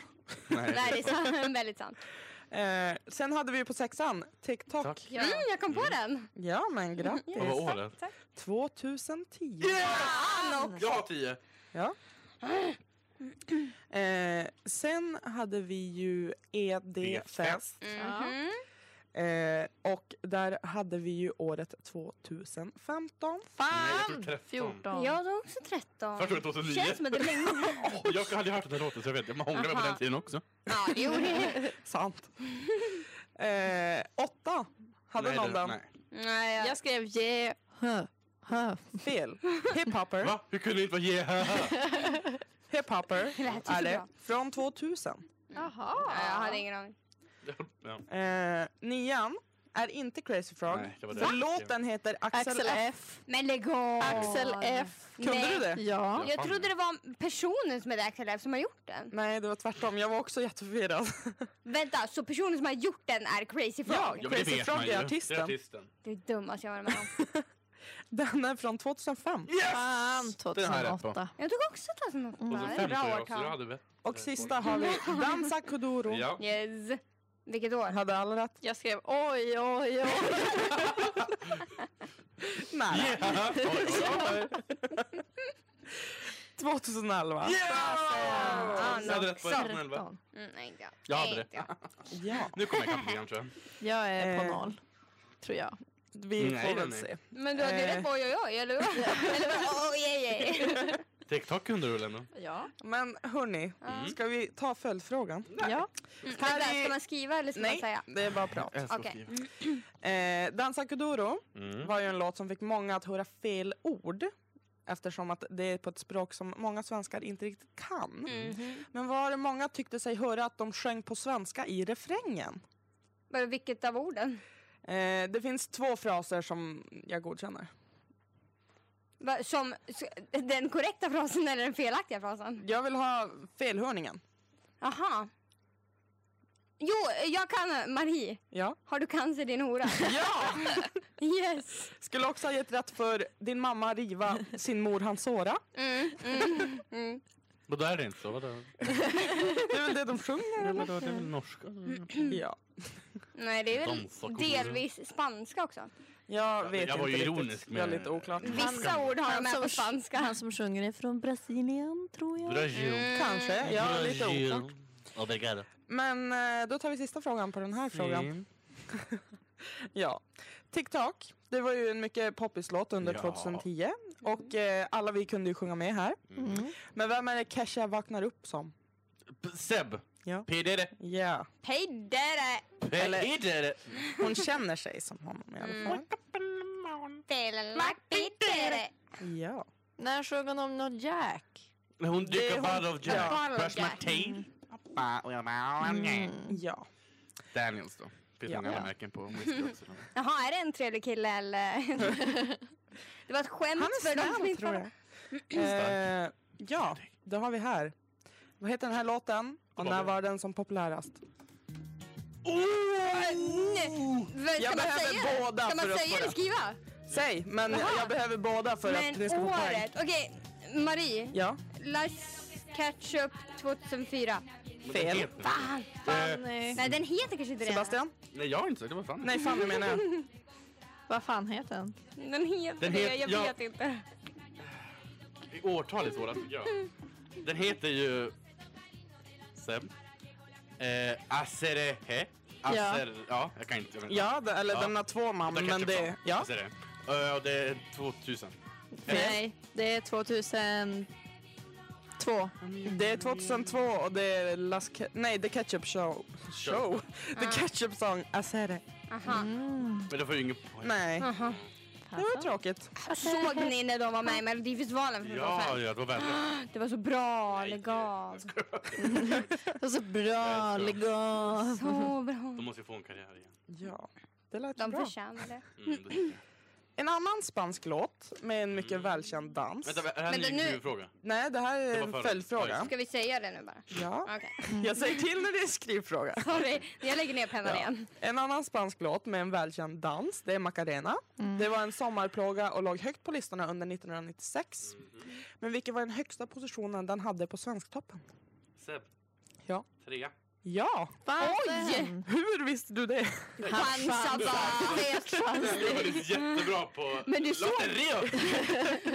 D: Nej, det är sant. väldigt sant.
B: Eh, sen hade vi på sexan TikTok.
C: Tack.
D: Mm, jag kom på den.
B: Ja, men grattis.
C: Vad var året?
B: 2010.
C: Jag har tio.
B: Ja. Eh, sen hade vi ju E
C: E
B: ED-fest.
D: Mm-hmm.
E: Ja.
B: Eh, och där hade vi ju året 2015.
C: Nej, jag
E: Fan!
C: tror 13.
E: 14.
D: Jag var också 13.
C: Först var det 2009.
D: Känns som att det var länge sedan.
C: Åh, jag hade hört den här låten så jag vet. Man ångrar mig på
D: Aha.
C: den tiden också.
D: Ja, det gjorde det.
B: Sant. Eh, åtta. Hade
C: Nej,
B: någon
C: det-
B: den?
C: nej.
D: Nej, jag-
E: Jag skrev yeah. Huh. Huh.
B: Fel. Hip Hopper.
C: Va? Hur kunde det inte vara yeah?
B: Hip Hopper
D: lät ju
B: är
D: så
B: det.
D: bra.
B: Från 2000.
E: Jaha.
D: Nej, jag hade ingen aning.
C: ja.
B: Eh, nian är inte Crazy Frog.
C: Nej, det var det.
B: för
C: Va?
B: låten heter Axel,
E: Axel
B: F.
E: F.
D: Men lägg av!
E: Axel F.
B: Kunde
D: Nej.
B: du det?
E: Ja.
D: Jag trodde det var personen som hade Axel F som har gjort den.
B: Nej, det var tvärtom. Jag var också jätteförvirrad.
D: Vänta, så personen som har gjort den är Crazy Frog?
C: Ja, men det
B: Crazy
C: vet
B: Frog
C: man
B: är
C: ju.
B: artisten.
C: Det är artisten.
D: Det är dummaste jag varit med om.
B: Den är från 2005.
E: Fan,
C: Den har jag rätt på.
E: 2008.
D: Jag tog också 2008. Mm.
C: 2005 tror
D: Bra
C: jag också. Jag
D: årtal.
C: hade vett.
B: Och sista har vi Dansa Kuduro.
C: Ja.
D: Yes. Vilket år?
B: Hade alla rätt?
E: Jag skrev oj, oj, oj.
B: Nära.
C: Yeah. Oj, oj, oj.
B: 2011.
D: Ah,
C: Jag hade
D: no.
C: rätt på 2011.
D: Mm, nej, inte jag.
C: Jag
D: Nej,
C: hade
D: inte
C: det.
D: jag.
B: Ja,
C: Nu kommer jag ikapp lite grann tror jag.
E: Jag är på
B: Eh.
E: noll. Tror jag.
B: vi
C: Nej,
B: får
C: nej,
B: väl
C: nej.
B: se.
D: Men du hade
B: Eh.
D: rätt på oj, oj, oj, eller vad? Eller vad? Oj, oj, oj.
C: TikTok kunde du väl ändå?
E: Ja.
B: Men hörni, ska vi ta följdfrågan?
C: Mm.
E: ja.
D: Mm. Vänta,
B: är-
D: Ska man skriva eller ska man
B: Nej,
D: säga?
B: det är bara prat.
C: Jag älskar att
D: Okej.
C: skriva.
B: Eh, Dansa Kuduro
C: Mm.
B: var ju en låt som fick många att höra fel ord eftersom att det är på ett språk som många svenskar inte riktigt
D: Mm.
B: kan. Men var det många tyckte sig höra att de sjöng på svenska i refrängen?
D: Bara vilket av orden?
B: Eh, det finns två fraser som jag godkänner.
D: Va, Som s- den korrekta frasen eller den felaktiga frasen?
B: Jag vill ha felhörningen.
D: Aha. Jo, jag kan Marie.
B: Ja.
D: Har du cancer i din hora?
B: ja!
D: Yes.
B: Skulle också ha gett rätt för din mamma riva sin mor han såra.
D: Mm, mm, mm.
C: Men då är det inte så. Vadå?
B: Det är väl det de sjunger
C: Ja, men
B: eller?
C: då är det väl norska?
B: Mm. Ja.
D: Nej, det är väl
C: Dansa kommer.
D: delvis spanska också.
B: Mm. Jag vet
C: jag var
B: inte
C: ju
B: riktigt.
C: ironisk med-
B: Väldigt oklart.
D: Vissa ord har de med på spanska.
E: Han som sjunger är från Brasilien, tror jag.
C: Brasil.
D: Mm.
B: Kanske, Mm. ja lite oklart.
C: Obrigado.
B: Men eh, då tar vi sista frågan på den här frågan.
C: Mm.
B: Ja. TikTok, det var ju en mycket poppis-låt under
C: Ja.
B: 2010 och eh, alla vi kunde ju sjunga med här.
D: Mm.
B: Men vem är det Kesha vaknar upp som?
C: P- Seb.
B: Ja.
C: Pidere.
B: Ja,
D: Pejdere!
B: Eller-
C: Pidere.
B: hon känner sig som honom i
D: Mm.
B: alla fall.
D: Mackpidere!
B: Ja.
E: När sjöng han om något Jack?
C: Hon
B: Det
C: dricker
B: är
C: Bottle
B: hon- Mm.
C: of Jack.
D: Ja. Bottle of
C: Where's my
D: Jack.
C: tea?
D: Mm.
B: Ja.
C: Daniels då.
B: Mm.
C: Finns
B: Ja.
C: många andra
B: Ja.
C: märken på whisky också.
D: Jaha, är det en trevlig kille eller? det var ett skämt
B: Han är
D: för dem som
B: snäll
D: inte
B: tror
D: fattar.
B: jag. Eh, ja, det har vi här. Vad heter den här låten? Och när var den som populärast?
D: Nej, vad- Äh, Ska
B: Jag
D: man
B: behöver
D: säga det?
B: båda
D: Ska
B: för
D: man
B: att
D: säga
B: få
D: eller
B: det.
D: skriva?
B: Säg, men jag behöver båda för att ni
D: Men
B: ska få poäng.
D: året. Okej, Marie.
B: Ja,
D: Let's catch up 2004.
B: fel.
D: Fan!
C: Eh,
E: Nej.
D: Nej, den heter kanske inte det.
B: Sebastian?
C: nej, jag har inte sagt det. Vad fan?
B: Nej, Fanny menar jag.
E: Vad fan heter han?
D: Den heter
C: Den
D: det,
C: heter-
D: jag
C: ja.
D: vet inte.
C: I Årtal är svårast tycker jag. Den heter ju... Seb. Eh, Aserehe. Aser... Ja. jag kan inte. Jag vet inte.
B: Ja, det, eller
C: Ja.
B: den har två
C: Jag
B: namn,
C: kan
B: men
C: inte
B: det...
C: prata.
B: Ja,
C: Aserehe. Eh, och det är 2000.
E: Nej, det är 2002.
B: det är 2002 och det är Las... Ke- Nej, The Ketchup Show. Show? The Ketchup Song, Asere.
D: Aha.
C: Men det får ju ingen poäng.
B: Nej,
D: Aha.
B: det var tråkigt.
D: Såg ni när de var med i Melodifestivalen för
C: Ja,
D: ja,
C: ja, det var väldigt...
D: Det var så bra,
C: Nej,
D: lägg av.
E: Det var så bra,
C: så.
E: lägg av.
D: Så bra.
C: De måste ju få en karriär igen.
B: Ja, det lät
D: De
B: bra.
D: förtjänar det.
C: Mm, det tycker jag.
B: En annan spansk låt med en mycket välkänd dans.
C: Mm. Vänta, är det här
D: Men
C: en
D: det
C: ny
D: nu-
C: huvudfråga?
B: Nej, det här
C: Det
B: är
C: var
B: en
C: förra.
B: följdfråga.
D: Ska vi säga det nu bara?
B: Ja,
D: Okej.
B: jag säger till när det är skrivfråga.
D: Sorry, jag lägger ner pennan
B: Ja.
D: igen.
B: En annan spansk låt med en välkänd dans, det är Macarena.
E: Mm.
B: Det var en sommarplåga och låg högt på listorna under 1996.
C: Mm.
B: Men vilken var den högsta positionen den hade på Svensktoppen?
C: Seb.
B: Ja.
C: Trea.
B: Ja,
D: Oj!
B: hur visste du det?
D: Chansa bara. Det är-
C: Jag var jättebra på
D: Men du såg-
C: lotteri.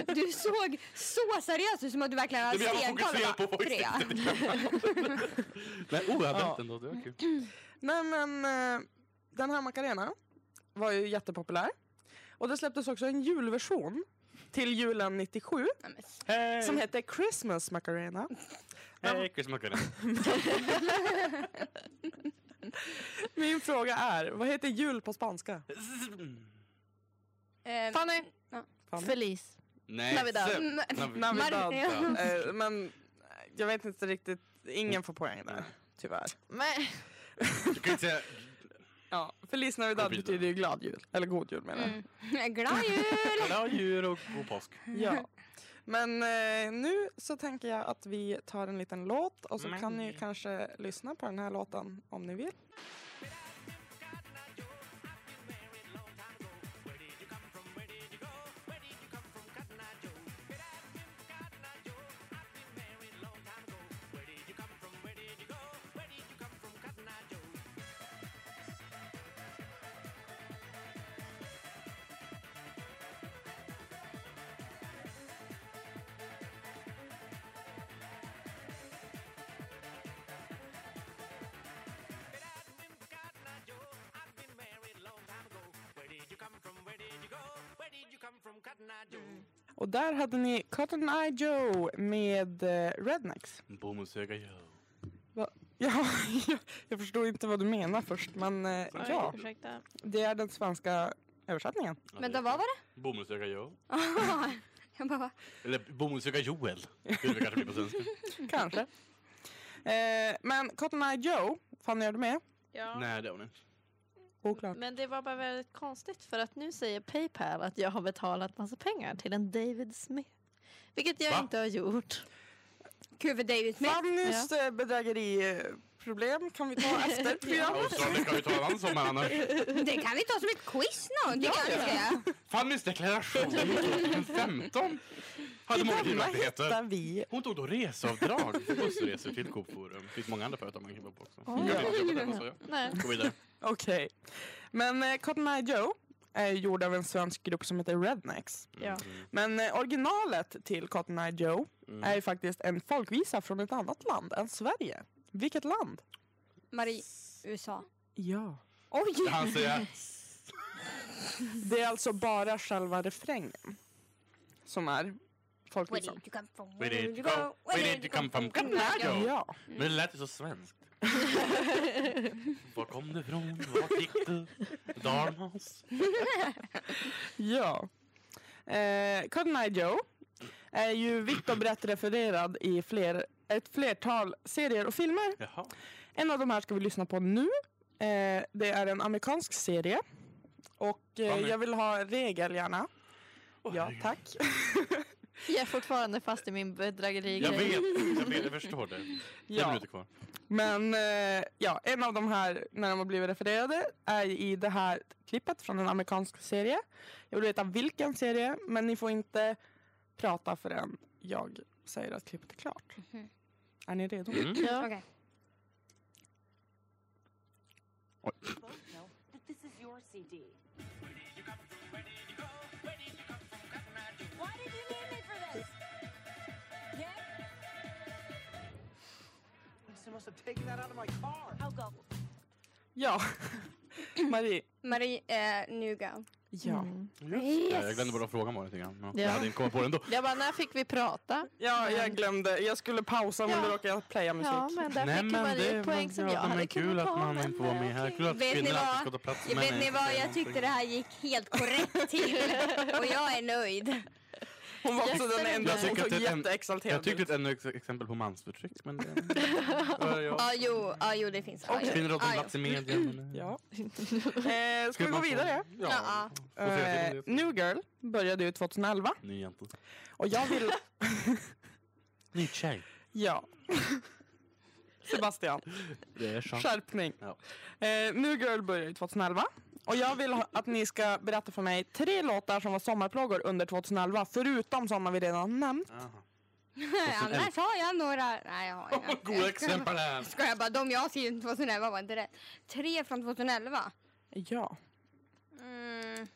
D: Du såg så seriös ut som att du verkligen hade
C: Det blir jag var
D: stenkoll.
C: fokuserad
D: och bara,
C: på oh, voice
D: "Trea."
C: Nej, oövat
B: Ja.
C: ändå. Det var kul.
B: Nej men, eh, den här Macarena var ju jättepopulär. Och det släpptes också en julversion till julen 97
D: Nej, men s-
C: Hej!
B: som hette Christmas Macarena.
C: Hej, Chris Macarena.
B: Min fråga är, vad heter jul på spanska?
D: eh,
E: Fanny!
D: Ja.
B: Fan.
E: Feliz.
C: Nej,
E: Navidad.
C: Seb.
D: Mm.
C: Nav-
B: Navidad.
D: Mar-
B: Eh, men jag vet inte riktigt, ingen får poäng där. Tyvärr.
E: Men,
C: Du kan inte säga...
B: Ja, Feliz Navidad
C: Gå vidare.
B: betyder ju glad jul. Eller god jul menar jag.
D: Mm. Glad jul!
C: Glada djur och god påsk.
B: Ja. Men eh, nu så tänker jag att vi tar en liten låt och så
C: Men-
B: kan ni kanske lyssna på den här låten om ni vill. Och där hade ni Cotton Eye Joe med eh, Rednecks.
C: Bomullshöga Joe.
B: Va? Ja, jag, jag förstod inte vad du menar först, men eh, ja,
E: ursäkta.
B: det är den svenska översättningen.
C: Ja,
D: Men
C: det
D: då,
C: är
D: vad var det?
C: kul. Bomullshöga Joe.
D: Jag bara,
C: Eller bomullshöga Joel. Skulle det kanske bli på svenska.
B: Kanske. Eh, men Cotton Eye Joe, Fanny är du med?
E: Ja.
C: Nej, det var det
B: Oklart.
E: Men det var bara väldigt konstigt för att nu säger Paypal att jag har betalat massa pengar till en David Smith. Vilket jag
C: Va?
E: inte har gjort.
D: Gud för David Smith.
B: Fannys ja. bedrägeri eh, Problem kan vi ta efter programmet.
C: Australien kan vi ta en annan sommar annars.
D: Det kan vi ta som ett quiz någon. Det kan vi säga.
C: Fannys deklaration 2015 hade många
B: Denna
C: givaktigheter.
B: hittar vi.
C: Hon tog då reseavdrag för bussresor till Coop Forum. Det finns många andra företag man kan jobba på också.
A: Oj.
C: Jag kan inte jobba där, vad sa jag?
E: Nej.
C: Gå vidare.
B: Okej. Men eh, Cotton Eye Joe är gjord av en svensk grupp som heter Rednecks.
E: Ja.
B: Men eh, originalet till Cotton Eye Joe
C: Mm.
B: är ju faktiskt en folkvisa från ett annat land än Sverige. Vilket land?
D: Marie, USA.
B: Ja.
D: Oj!
C: Han säger
B: Det är alltså bara själva refrängen som är
D: Where did
B: folkvisan.
D: you come from?
C: We did you go, we did you come from Cotton Eye Joe.
B: Ja.
C: Men det lät ju så svenskt. Var kom du ifrån? Var gick du? Dalmas?
B: Ja. Eh, Cotton Eye Joe är ju vitt och brett refererad i fler, ett flertal serier och filmer.
C: Jaha.
B: En av de här ska vi lyssna på nu. Eh, det är en amerikansk serie. Och eh,
C: Fanny.
B: jag vill ha regel gärna.
C: Åh,
B: Ja,
C: herregud.
B: tack.
E: Jag är fortfarande fast i min bedrägeri
C: Jag vet, jag vet, jag förstår det. Fem
B: Ja.
C: minuter kvar.
B: Men eh, ja, en av de här, när de har blivit refererade, är i det här klippet från en amerikansk serie. Jag vill veta vilken serie, men ni får inte prata förrän jag säger att klippet är klart.
D: Mhm.
B: Är ni redo?
C: Mm.
E: Ja.
D: Okej.
G: both know that this is your CD.
F: Why did you need me for this? Yeah?
H: Winston must have taken that out of my car.
G: I'll go.
B: Ja. Marie.
D: Marie, eh, nu go.
B: Ja.
E: Mm.
C: Just det, Eh, Jag glömde bara att fråga Malin lite grann. Ja.
E: Ja.
C: Jag hade inte kommit på det ändå.
E: Jag bara, när fick vi prata?
B: ja, jag glömde. Jag skulle pausa men
E: Ja.
B: då råkade jag playa musik.
E: Ja, men där fick
C: men
E: Marie
C: det-
E: poäng som
C: ja,
E: jag
C: men
E: hade
C: kul
E: kunnat
C: att
E: ha,
C: man
E: men
C: får vara med här.
E: okej.
C: Kul att
D: Vet ni
C: kvinnor
D: vad?
C: alltid ska ta plats.
D: Jag
C: men eh,
D: vet ni
C: nej,
D: vad,
C: säger
D: jag
C: någonting.
D: tyckte det här gick helt korrekt till. Och jag är nöjd.
B: Hon var också den
E: Jätterädd.
B: enda
E: Jag
B: som
C: tycker
B: såg
C: att det är en-
B: jätteexalterad
C: Jag tyckte
B: ut.
C: det är ännu ett exempel på mansförtryck. Men det, Ja,
D: Ja,
C: ja.
D: ah, jo, ah, jo, det finns. Ah, jo.
C: Kvinnor har
D: Ah,
C: tagit
D: jo.
C: plats i media. men, eh,
B: Ja. Eh, ska vi gå
C: man få-
B: vidare?
C: Ja.
D: Ja.
C: Får se
B: Eh,
C: till det.
B: New Girl började ju 2011
C: Ny jänta.
B: och jag vill...
C: Ny tjej.
B: ja. Sebastian,
C: Det är sant.
B: skärpning.
C: Ja.
B: Eh, New Girl började ju 2011 och jag vill ha, att ni ska berätta för mig tre låtar som var sommarplågor under 2011 förutom sådana vi redan nämnt.
C: Aha.
D: Annars har jag några. Nej, jag har inga.
C: Goda exempel här.
D: Ska jag bara, de jag har skrivit 2011 var inte rätt. Tre från 2011.
B: Ja.
D: Mm.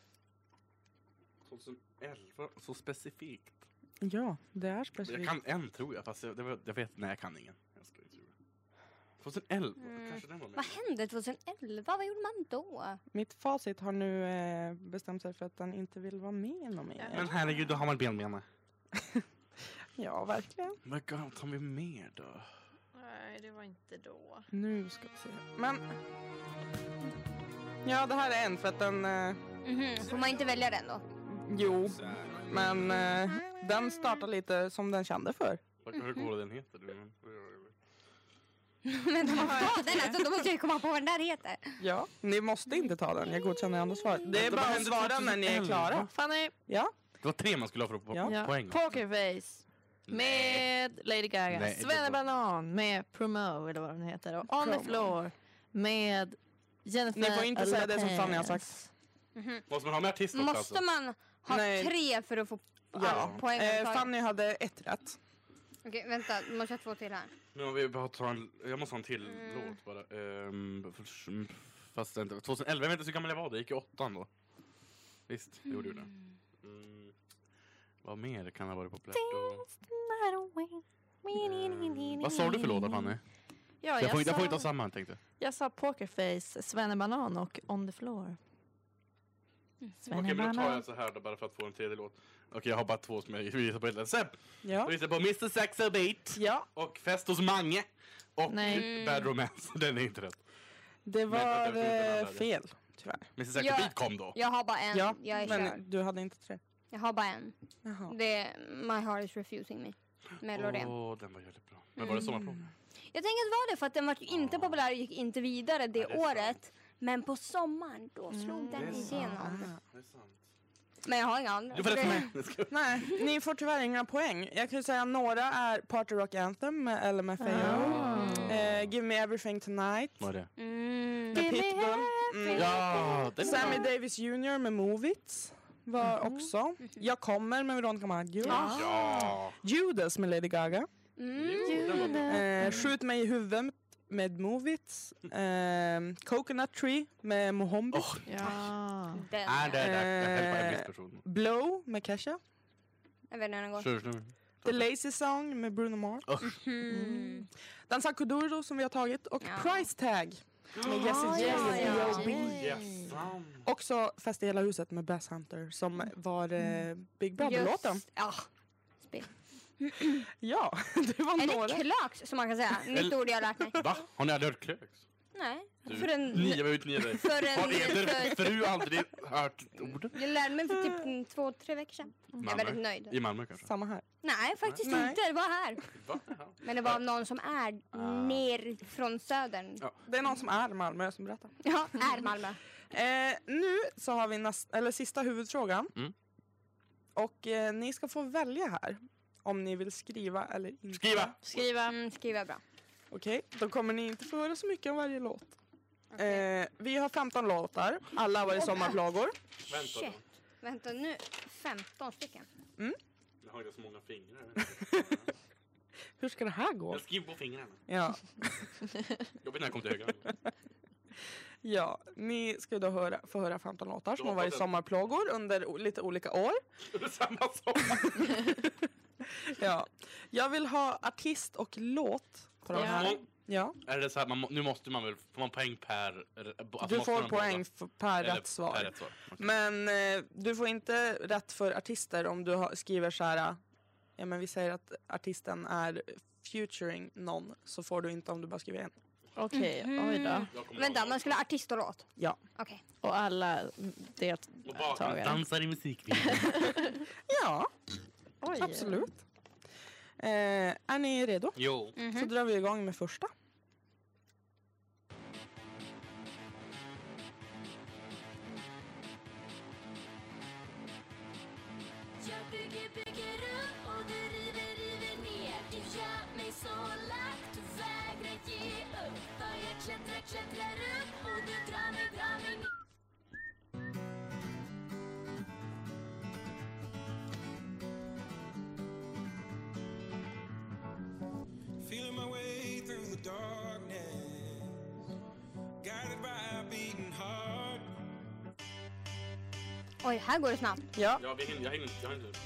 C: 2011, så specifikt.
B: Ja, det är
C: Jag
B: specifikt.
C: kan en tror jag, fast jag, det var, jag vet, nej jag kan ingen. Jag skojar, tror jag. 2011,
D: Mm.
C: kanske den var med.
D: Vad hände 2011? Vad gjorde man då?
B: Mitt facit har nu eh, bestämt sig för att den inte vill vara med inom er.
C: Men herregud, då har man benbena.
B: Ja, verkligen.
C: Vad tar vi mer då?
E: Nej, det var inte då.
B: Nu ska vi se. Men... Ja, det här är en för att den... Eh,
D: Mhm, Får man inte välja den då?
B: jo, men eh, den startar lite som den kände för.
C: Vad hur går den heter? du? Men-
D: Men de har ta den alltså, då måste jag ju komma på vad den där heter.
B: Ja. Ni måste inte ta den, jag godkänner andra svar. Det är
C: Vänta,
B: bara
C: vad
B: att
C: hände
B: svara när ni är
C: 2011?
B: klara.
E: Fanny!
B: Ja.
C: Det var tre man skulle ha för på
B: Ja.
E: Ja.
C: poäng.
E: Pokerface. Med Lady Gaga.
C: Nej, det var-
E: Svennebanan med Promo eller vad den heter. Och On
B: Promo.
E: the floor med Jennifer
B: Ni får inte säga det som Fanny har
E: Lopez.
C: Måste man ha med artist också? alltså.
D: Måste man ha
B: Nej.
D: tre för att få
B: ja.
D: all poäng?
B: Eh,
D: överhuvudtaget?
B: Fanny hade ett rätt.
D: Okej, vänta. Nu måste jag ha två till här.
C: Men om vi bara tar en, jag måste ha en till
D: Mm.
C: låt bara. Ehm, för- mm, fast inte, 2011, jag vet inte hur gammal jag var, det gick i åttan då. Visst, det gjorde ju det. Mm. Vad mer kan ha varit populärt då? Ehm, Vad sa du för låt Fanny?
E: Ja,
C: Jag
E: jag,
C: får, inte-
E: sa,
C: jag får inte ha samma tänkte
E: jag sa Pokerface, Svennebanan och On the floor.
C: jag. Okej men då tar jag
E: Svennebanan.
C: en så här då bara för att få en tredje låt. Okej jag har bara två som jag visar på hittills. Sepp!
B: Ja.
C: Jag visar på Mr Saxo Beat
B: ja.
C: och Fest hos Mange och
E: Nej.
C: Bad Romance. Den är inte rätt.
B: Det
C: vänta,
B: var
C: det var inte den
B: eh,
C: där.
B: fel, tyvärr.
C: Mr Saxo
D: Ja.
C: Beat kom då.
D: Jag har bara en.
B: Ja,
D: jag är körd.
B: men du hade inte tre.
D: Jag har bara en.
B: Jaha.
D: Det är My heart is refusing me. Med Loreen.
C: Åh, den var jävligt bra. Men var det sommarplåga?
D: Jag tänker att det var det för att den var ju inte populär och gick inte vidare det,
C: Ja, det är
D: året. Men på sommaren då slog
C: Det är
D: den
C: sant.
D: igenom.
C: Det är sant.
D: Men jag har inga andra.
C: Du får rätt
D: Det-
C: med. Jag ska-
B: Nej, ni får tyvärr inga poäng. Jag kan ju säga några är Party Rock Anthem med LMFAO.
E: Ah.
B: Eh, Give me everything tonight.
C: Vad är det?
D: Mm.
B: Med Pitbull. Mm.
C: Ja, den är
B: Sammy Davis Jr med Movits var
E: Mm-hmm.
B: också. Jag kommer med Veronica Maggio.
C: bra. Ja!
B: Judas med Lady Gaga.
D: Mm,
C: Jo, den var bra.
B: Eh, Skjut mig i huvudet med Movits. Eh, Coconut Tree med Mohombi.
C: Åh,
E: Ja.
D: Den.
C: nej, det är det. Jag häller på en
B: Eh,
C: viss person.
B: Blow med Kesha.
D: Jag vet inte hur den går.
C: Kör, kör.
B: The Lazy Song med Bruno Mars.
D: Mm.
B: Dansa Kuduro som vi har tagit och
D: Ja.
B: Price Tag med Jessie
E: Ah,
B: J
E: ja,
B: och
E: ja.
B: B.O.B. Också Fest i hela huset med Bass Hunter som var eh, Big Brother-låten.
D: Just- Ja. Spel.
B: Ja, det var
D: Är
B: några.
D: det klöks som man kan säga? Nytt ord jag har lärt mig.
C: Va? Har ni aldrig hört kröks?
D: Nej.
C: Du,
D: För en,
C: Nia var ute nya dig.
D: för en-
C: Har eder
D: för-
C: fru aldrig hört ordet?
D: jag lärde mig för typ en, två, tre veckor sedan. Jag är
C: Malmö?
D: väldigt nöjd.
C: I Malmö kanske?
B: Samma här.
D: Nej, faktiskt
B: Nej.
D: inte. Det var här.
C: Va?
D: Men det var någon som är
C: Ah.
D: ner från södern.
C: Ja.
B: Det är någon som är Malmö som berättar.
D: Ja, är Malmö.
B: Eh, nu så har vi näst, eller sista huvudfrågan.
C: Mm.
B: Och eh, ni ska få välja här om ni vill skriva eller inte.
C: Skriva!
E: Skriva.
D: Mm, skriva bra.
B: Okej, då kommer ni inte få höra så mycket om varje låt.
D: Okej.
B: Eh, vi har 15 låtar. Alla har varit sommarplågor.
C: Vänta då.
D: Shit. Vänta nu, 15 stycken.
C: Jag har ju så många fingrar.
B: Hur ska det här gå?
C: Jag skriver på fingrarna.
B: Ja,
C: Jobbigt när jag kom till höger.
B: ja. ni ska då höra, få höra 15 låtar som
C: Då
B: har varit
C: hoppas jag-
B: sommarplågor under o- lite olika år.
C: Samma sak.
B: Ja. Jag vill ha artist och låt på de
E: Ja.
B: här. Ja.
C: Är det så här, man, må- nu måste man väl, får man poäng per... alltså
B: Du
C: måste
B: får
C: man båda?
B: poäng f- per
C: Eller
B: rätt svar.
C: Per rätt svar. Okej.
B: Men eh, du får inte rätt för artister om du har, skriver så här. eh, Ja, men vi säger att artisten är featuring någon så får du inte om du bara skriver en.
E: Okej,
C: Mhm.
E: oj då.
C: Jag kommer
D: Vänta,
C: ihåg.
D: man skulle ha artist och låt?
B: Ja.
D: Okej.
E: Och alla
C: Och bakom
E: deltagare.
C: dansar i musikvideon.
B: Ja,
E: Oj.
B: absolut. Eh, är ni redo?
C: jo.
E: Mhm.
B: Så drar vi igång med första.
F: Jag bygger, bygger upp och du river, river ner Du gör mig så lack, du vägrar ge upp För jag klättrar, klättrar upp och du drar mig, drar mig ner
I: Feeling my way through the darkness, guided by a beating heart.
D: Oj, här går det snabbt.
B: Ja,
C: Ja, vi hinner, jag hinner inte. Jag hinner. inte.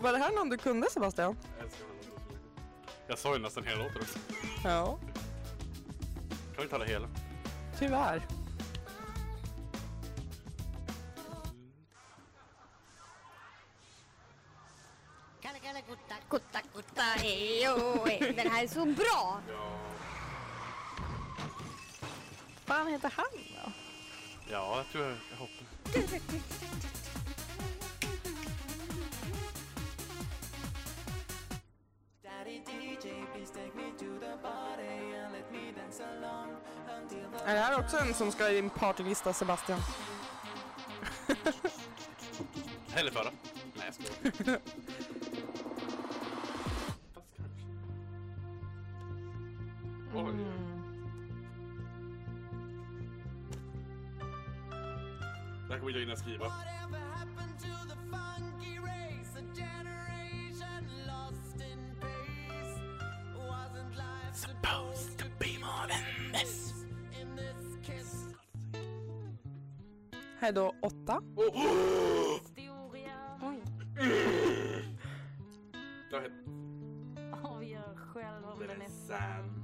B: var det här någon du kunde Sebastian?
C: Jag älskar den här låten så mycket. Jag sa ju nästan hela låten också.
B: Ja,
C: Kan vi inte alla hela?
B: tyvärr.
D: Kalle, kalle, gutta, gutta, gutta, ej, oh, ej. Den här är så bra!
E: fan heter han då?
C: Ja, jag tror jag, jag hoppar.
B: Är det här också en som ska i din partylista Sebastian?
C: Häller förra. Nej, jag skojar. Fast kanske. Oj. Det här kommer jag hinna skriva. Supposed to be more than this.
B: Här är då åtta.
C: Jag vet.
F: Avgör själv om den är
C: sann.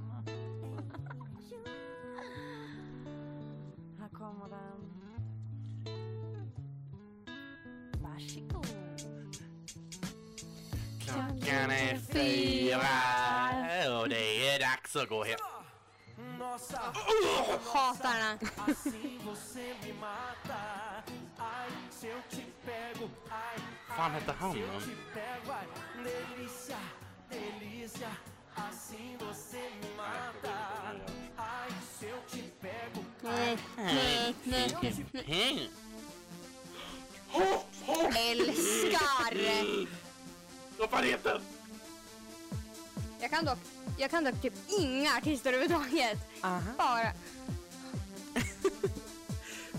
F: Här kommer den Varsågod
C: Klockan är fyra och det är dags att gå hem.
D: Hatar den här.
H: Assim você me mata. Ai, se eu te
C: fan hette han då?
D: Nej, nej,
C: er
D: nej.
C: Hej!
D: Älskar!
C: Vad fan heter den?
D: Jag kan dock, jag kan dock typ inga artister överhuvudtaget. Bara.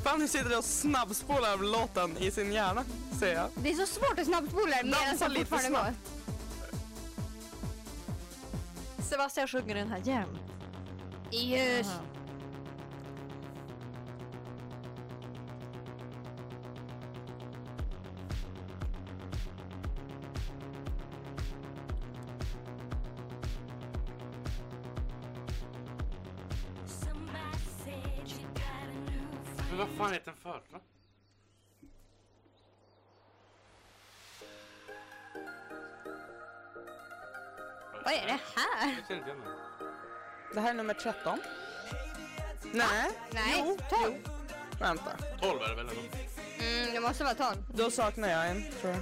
B: Fanny sitter och snabbspolar låten i sin hjärna, ser jag.
D: Det är så svårt att snabbspola medan
B: Dansa
D: jag
B: lite
D: fortfarande går.
B: snabbt.
E: Sebastian sjunger den här jämt.
D: Yes.
E: Aha.
C: Men vad fan heter den för? va?
D: Vad är det här?
C: Jag känner inte igen den.
B: Det här är nummer 13. Nej,
D: Nej, tolv.
B: vänta.
C: 12 är er det väl? eller nåt?
D: Mm, det måste vara tolv.
B: Då saknar jag en, tror jag.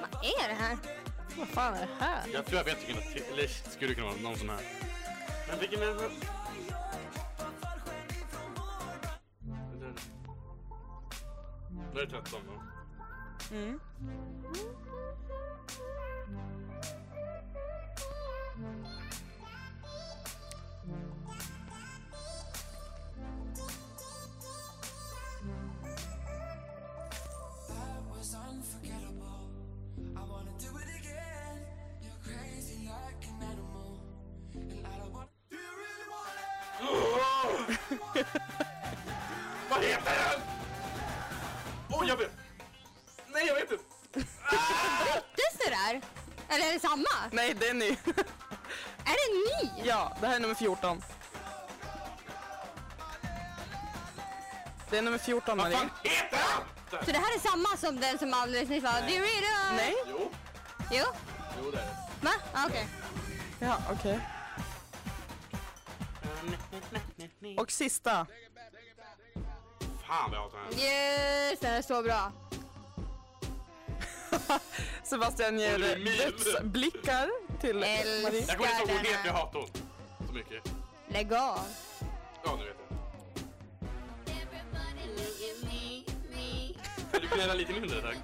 D: Vad är det här?
E: Vad fan är det här?
C: Jag tror jag vet vilken det till- Eller skulle kunna vara någon sån här. Men vilken är det? Nu är det 13 då.
B: Mm.
C: Vad heter den? Åh, jag vet! Nej, jag vet inte!
D: Byttes det där? Eller är det samma?
B: Nej, det är ny.
D: Är det en ny?
B: ja, det här är nummer 14. Det är nummer 14,
C: Vad
B: Maria.
C: fan heter den?
D: Så det här är samma som den som alldeles nyss var Du är det?
B: Nej?
C: Jo,
D: Jo.
C: jo det är det.
D: Va? Ah, Okej.
B: Ja, okej. Och sista.
C: Fan vad jag hatar den här.
D: Yes, den är så bra.
B: Sebastian ger
C: Håller du min?
B: dödsblickar till Maria.
C: Jag kommer inte ihåg vad hon
D: Skallarna.
C: heter, jag hatar hon. Så mycket.
D: Lägg av.
C: Ja, nu vet jag. Kan du gnälla lite mindre tack?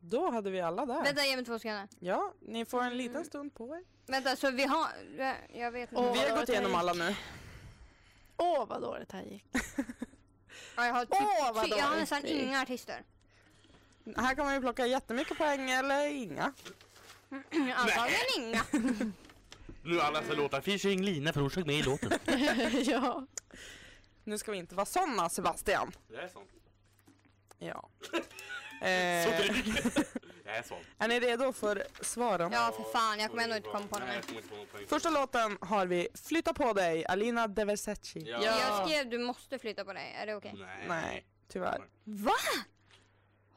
B: Då hade vi alla där.
D: Vänta, ge mig två sekunder.
B: Ja, ni får en liten stund på er.
D: Vänta, så vi har... Jag vet inte.
E: Åh,
B: Mm. Vi har
E: vad
B: gått igenom
E: dåligt.
B: alla nu.
E: Åh, vad dåligt det här gick.
D: Ja, jag har, typ,
E: Åh, vad
D: ty- jag har
E: dåligt
D: nästan
E: det gick.
D: inga artister.
B: Här kan man ju plocka jättemycket poäng eller inga.
D: Antagligen inga.
C: Nu är alla så låtar. Featuring Lina Frorsak med i låten.
E: ja.
B: Nu ska vi inte vara såna Sebastian.
C: Det är sånt.
B: Ja.
C: Så
B: Eh,
C: drygt. Det är sånt.
B: är ni redo för svaren?
D: Ja, för fan. Jag kommer ändå inte komma på
C: Nej,
D: någon.
C: jag kommer inte på någon poäng.
B: Första låten har vi Flytta på dig, Alina De Versace.
C: Ja.
D: Jag skrev du måste flytta på dig. Är det okej?
C: Nej.
B: Nej, tyvärr.
D: Va?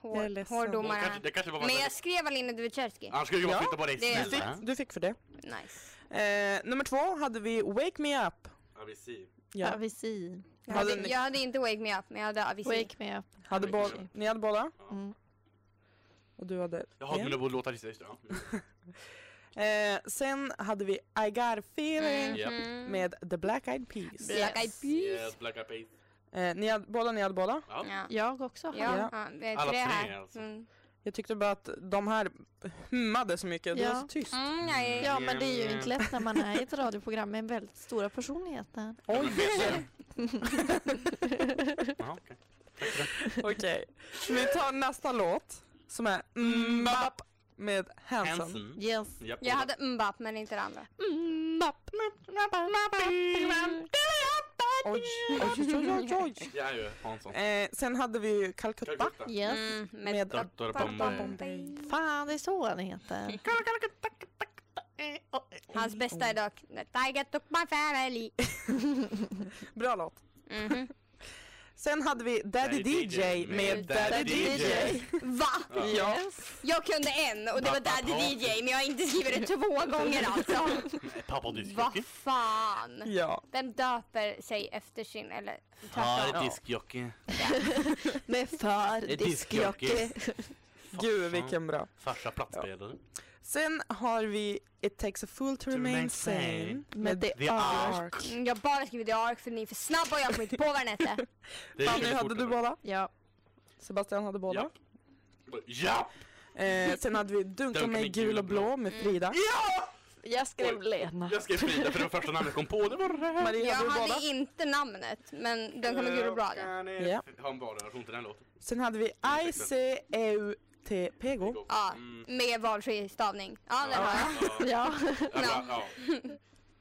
B: Jag är
D: Hår,
B: ledsen.
C: Det
D: hårdomar
C: kanske,
D: här.
C: det kanske var
D: Men jag skrev Aline Dwujerski.
C: Annars skulle jag
B: Ja,
C: flytta på dig
D: det är-
B: Du fick,
C: snälla.
B: du fick för det.
D: Nice.
B: Eh, nummer två hade vi Wake Me Up.
C: Avicii.
E: ja.
B: Ja.
E: Avicii.
D: Jag
B: Hade
D: hade,
B: ni-
D: jag hade inte Wake Me Up, men jag hade Avicii.
E: Wake me up.
B: Hade
C: Wake Me
B: bo-
C: Up.
B: ni hade båda?
E: Mm.
B: Och du hade
C: Jag har
B: en.
C: mina låtar i sig. just det, ja.
B: Eh, sen hade vi I got a feeling
C: Mm. Japp.
B: med The Black Eyed Peas.
D: Black Eyed Peas.
C: Yes, Black Eyed Peas.
B: Eh, ni hade, båda ni hade båda?
C: Ja.
D: Ja.
E: Jag också.
D: Ja,
B: Ja.
D: ja. vi är
C: Alla
D: tre
C: tre,
D: här.
C: alltså.
D: Mm.
B: Jag tyckte bara att de här hummade så mycket. Det
E: Ja.
B: var så tyst.
D: Mm, jag är...
E: Ja, men det är ju inte lätt när man är i ett radioprogram med en väldigt stora personligheter.
B: Oj!
C: Jaha, okej.
B: Okej. Vi tar nästa låt som är Mbap med Hanson.
C: Hansen.
E: Yes.
C: Japp,
D: Jag hade Mbapp men inte det andra.
B: Oj, oj, oj, oj, oj.
C: Jag är ju Hansson.
B: Eh, sen hade vi ju Calcutta
C: Calcutta.
E: Yes.
D: Mm, med
B: med
C: Dr. Bombay.
B: Bombay.
E: Fan, det är så han heter.
B: eh,
D: Hans bästa är dock I get up my family.
B: Bra låt.
D: Mhm.
B: Sen hade vi Daddy, DJ med Daddy, DJ.
D: Va?
B: Ja.
D: Jag kunde en och det var Daddy DJ men jag har inte skrivit det två gånger alltså.
C: Pappa du
D: Vad fan.
B: ja.
D: Vem döper sig efter sin, eller
C: Far
D: tvärtom.
C: diskjockey.
E: Med för
C: Ett diskjockey.
E: diskjockey.
B: Gud vilken bra.
C: Farsa plattspelare.
B: Sen har vi It takes a fool to remain
C: remain
B: sane
C: sane.
E: Med
B: med
E: The Ark.
D: Mm, Jag har bara skrivit The Ark för ni är för snabba och jag kommer inte på vad den hette.
C: Det är
B: Fanny,
C: väldigt
B: hade
C: fort
B: du
C: ändå.
B: båda?
E: Ja.
B: Sebastian hade båda.
C: Ja!
B: Eh, sen hade vi Dunka mig gul och blå med Frida.
C: Mm. Ja!
E: Jag skrev Lena.
C: Jag skrev Frida för det var första namnet jag kom på. Det var rätt.
B: Marie,
D: Jag
B: hade du
D: hade
B: båda?
D: inte namnet men den kommer gul och bra. Ja,
C: Kan ni
B: Ja.
C: ha en bra relation till den låten?
B: Sen hade vi I C E U T P G O.
C: Mm.
D: med valfri stavning. Ja, den har jag.
E: Ja.
C: Ja, bra, ja.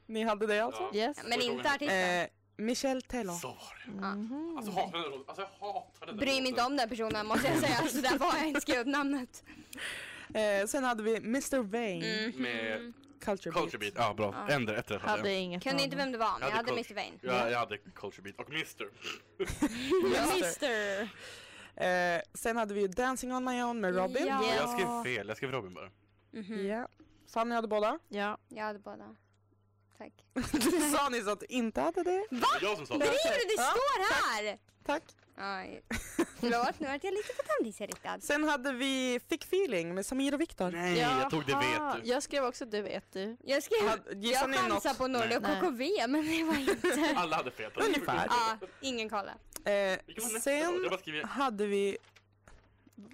B: Ni hade det alltså?
C: ja.
E: Yes.
D: Men inte artisten.
B: Eh, Michelle Taylor.
C: Så var det.
E: Mhm.
C: Alltså, hatar den här låten. Alltså, jag hatar den här
D: Bryr mig inte
C: låten.
D: om den personen måste jag säga, så där var jag inte skrivit namnet.
B: Eh, sen hade vi Mr Vain,
D: Mm.
C: Med
B: Culture,
C: Culture Beat. Ja, bra.
D: Ja.
C: Ändra ett rätt hade
E: Hade
C: jag.
E: inget
D: Kunde inte vem det var, men jag
C: Ja, det
D: hade
C: är
D: Mr. Vain.
C: Ja, jag hade Culture Beat och Mr.
D: Mr.
B: Beat. Eh, sen hade vi ju Dancing on my own med Robin.
D: Ja. Mhm.
C: Och Jag skrev fel. Jag skrev Robin bara.
B: Ja. Fanny hade båda.
E: Ja.
D: Jag hade båda. Tack.
B: Du sa nyss att du inte hade det.
C: Det är Jag som sa det.
D: Driver du?
B: Ja,
D: Det står här!
B: Tack.
D: Aj. Förlåt, nu vart jag lite förtändningsinriktad.
B: Sen hade vi Fick feeling med Samir och Viktor.
C: Nej, Mm, jag tog det
E: Jaha.
C: vet du.
E: Ah, Jag skrev också det vet du.
D: Jag skrev...
B: Hade- Gissar
D: Jag
B: ni något?
D: chansade på Norli och
E: Nej.
D: KKV, men det var inte...
C: Alla hade fel.
B: Ungefär.
D: Ja, ingen kolla.
B: Eh,
C: Vilken var nästa då? Jag
B: sen
C: bara skriver,
B: hade vi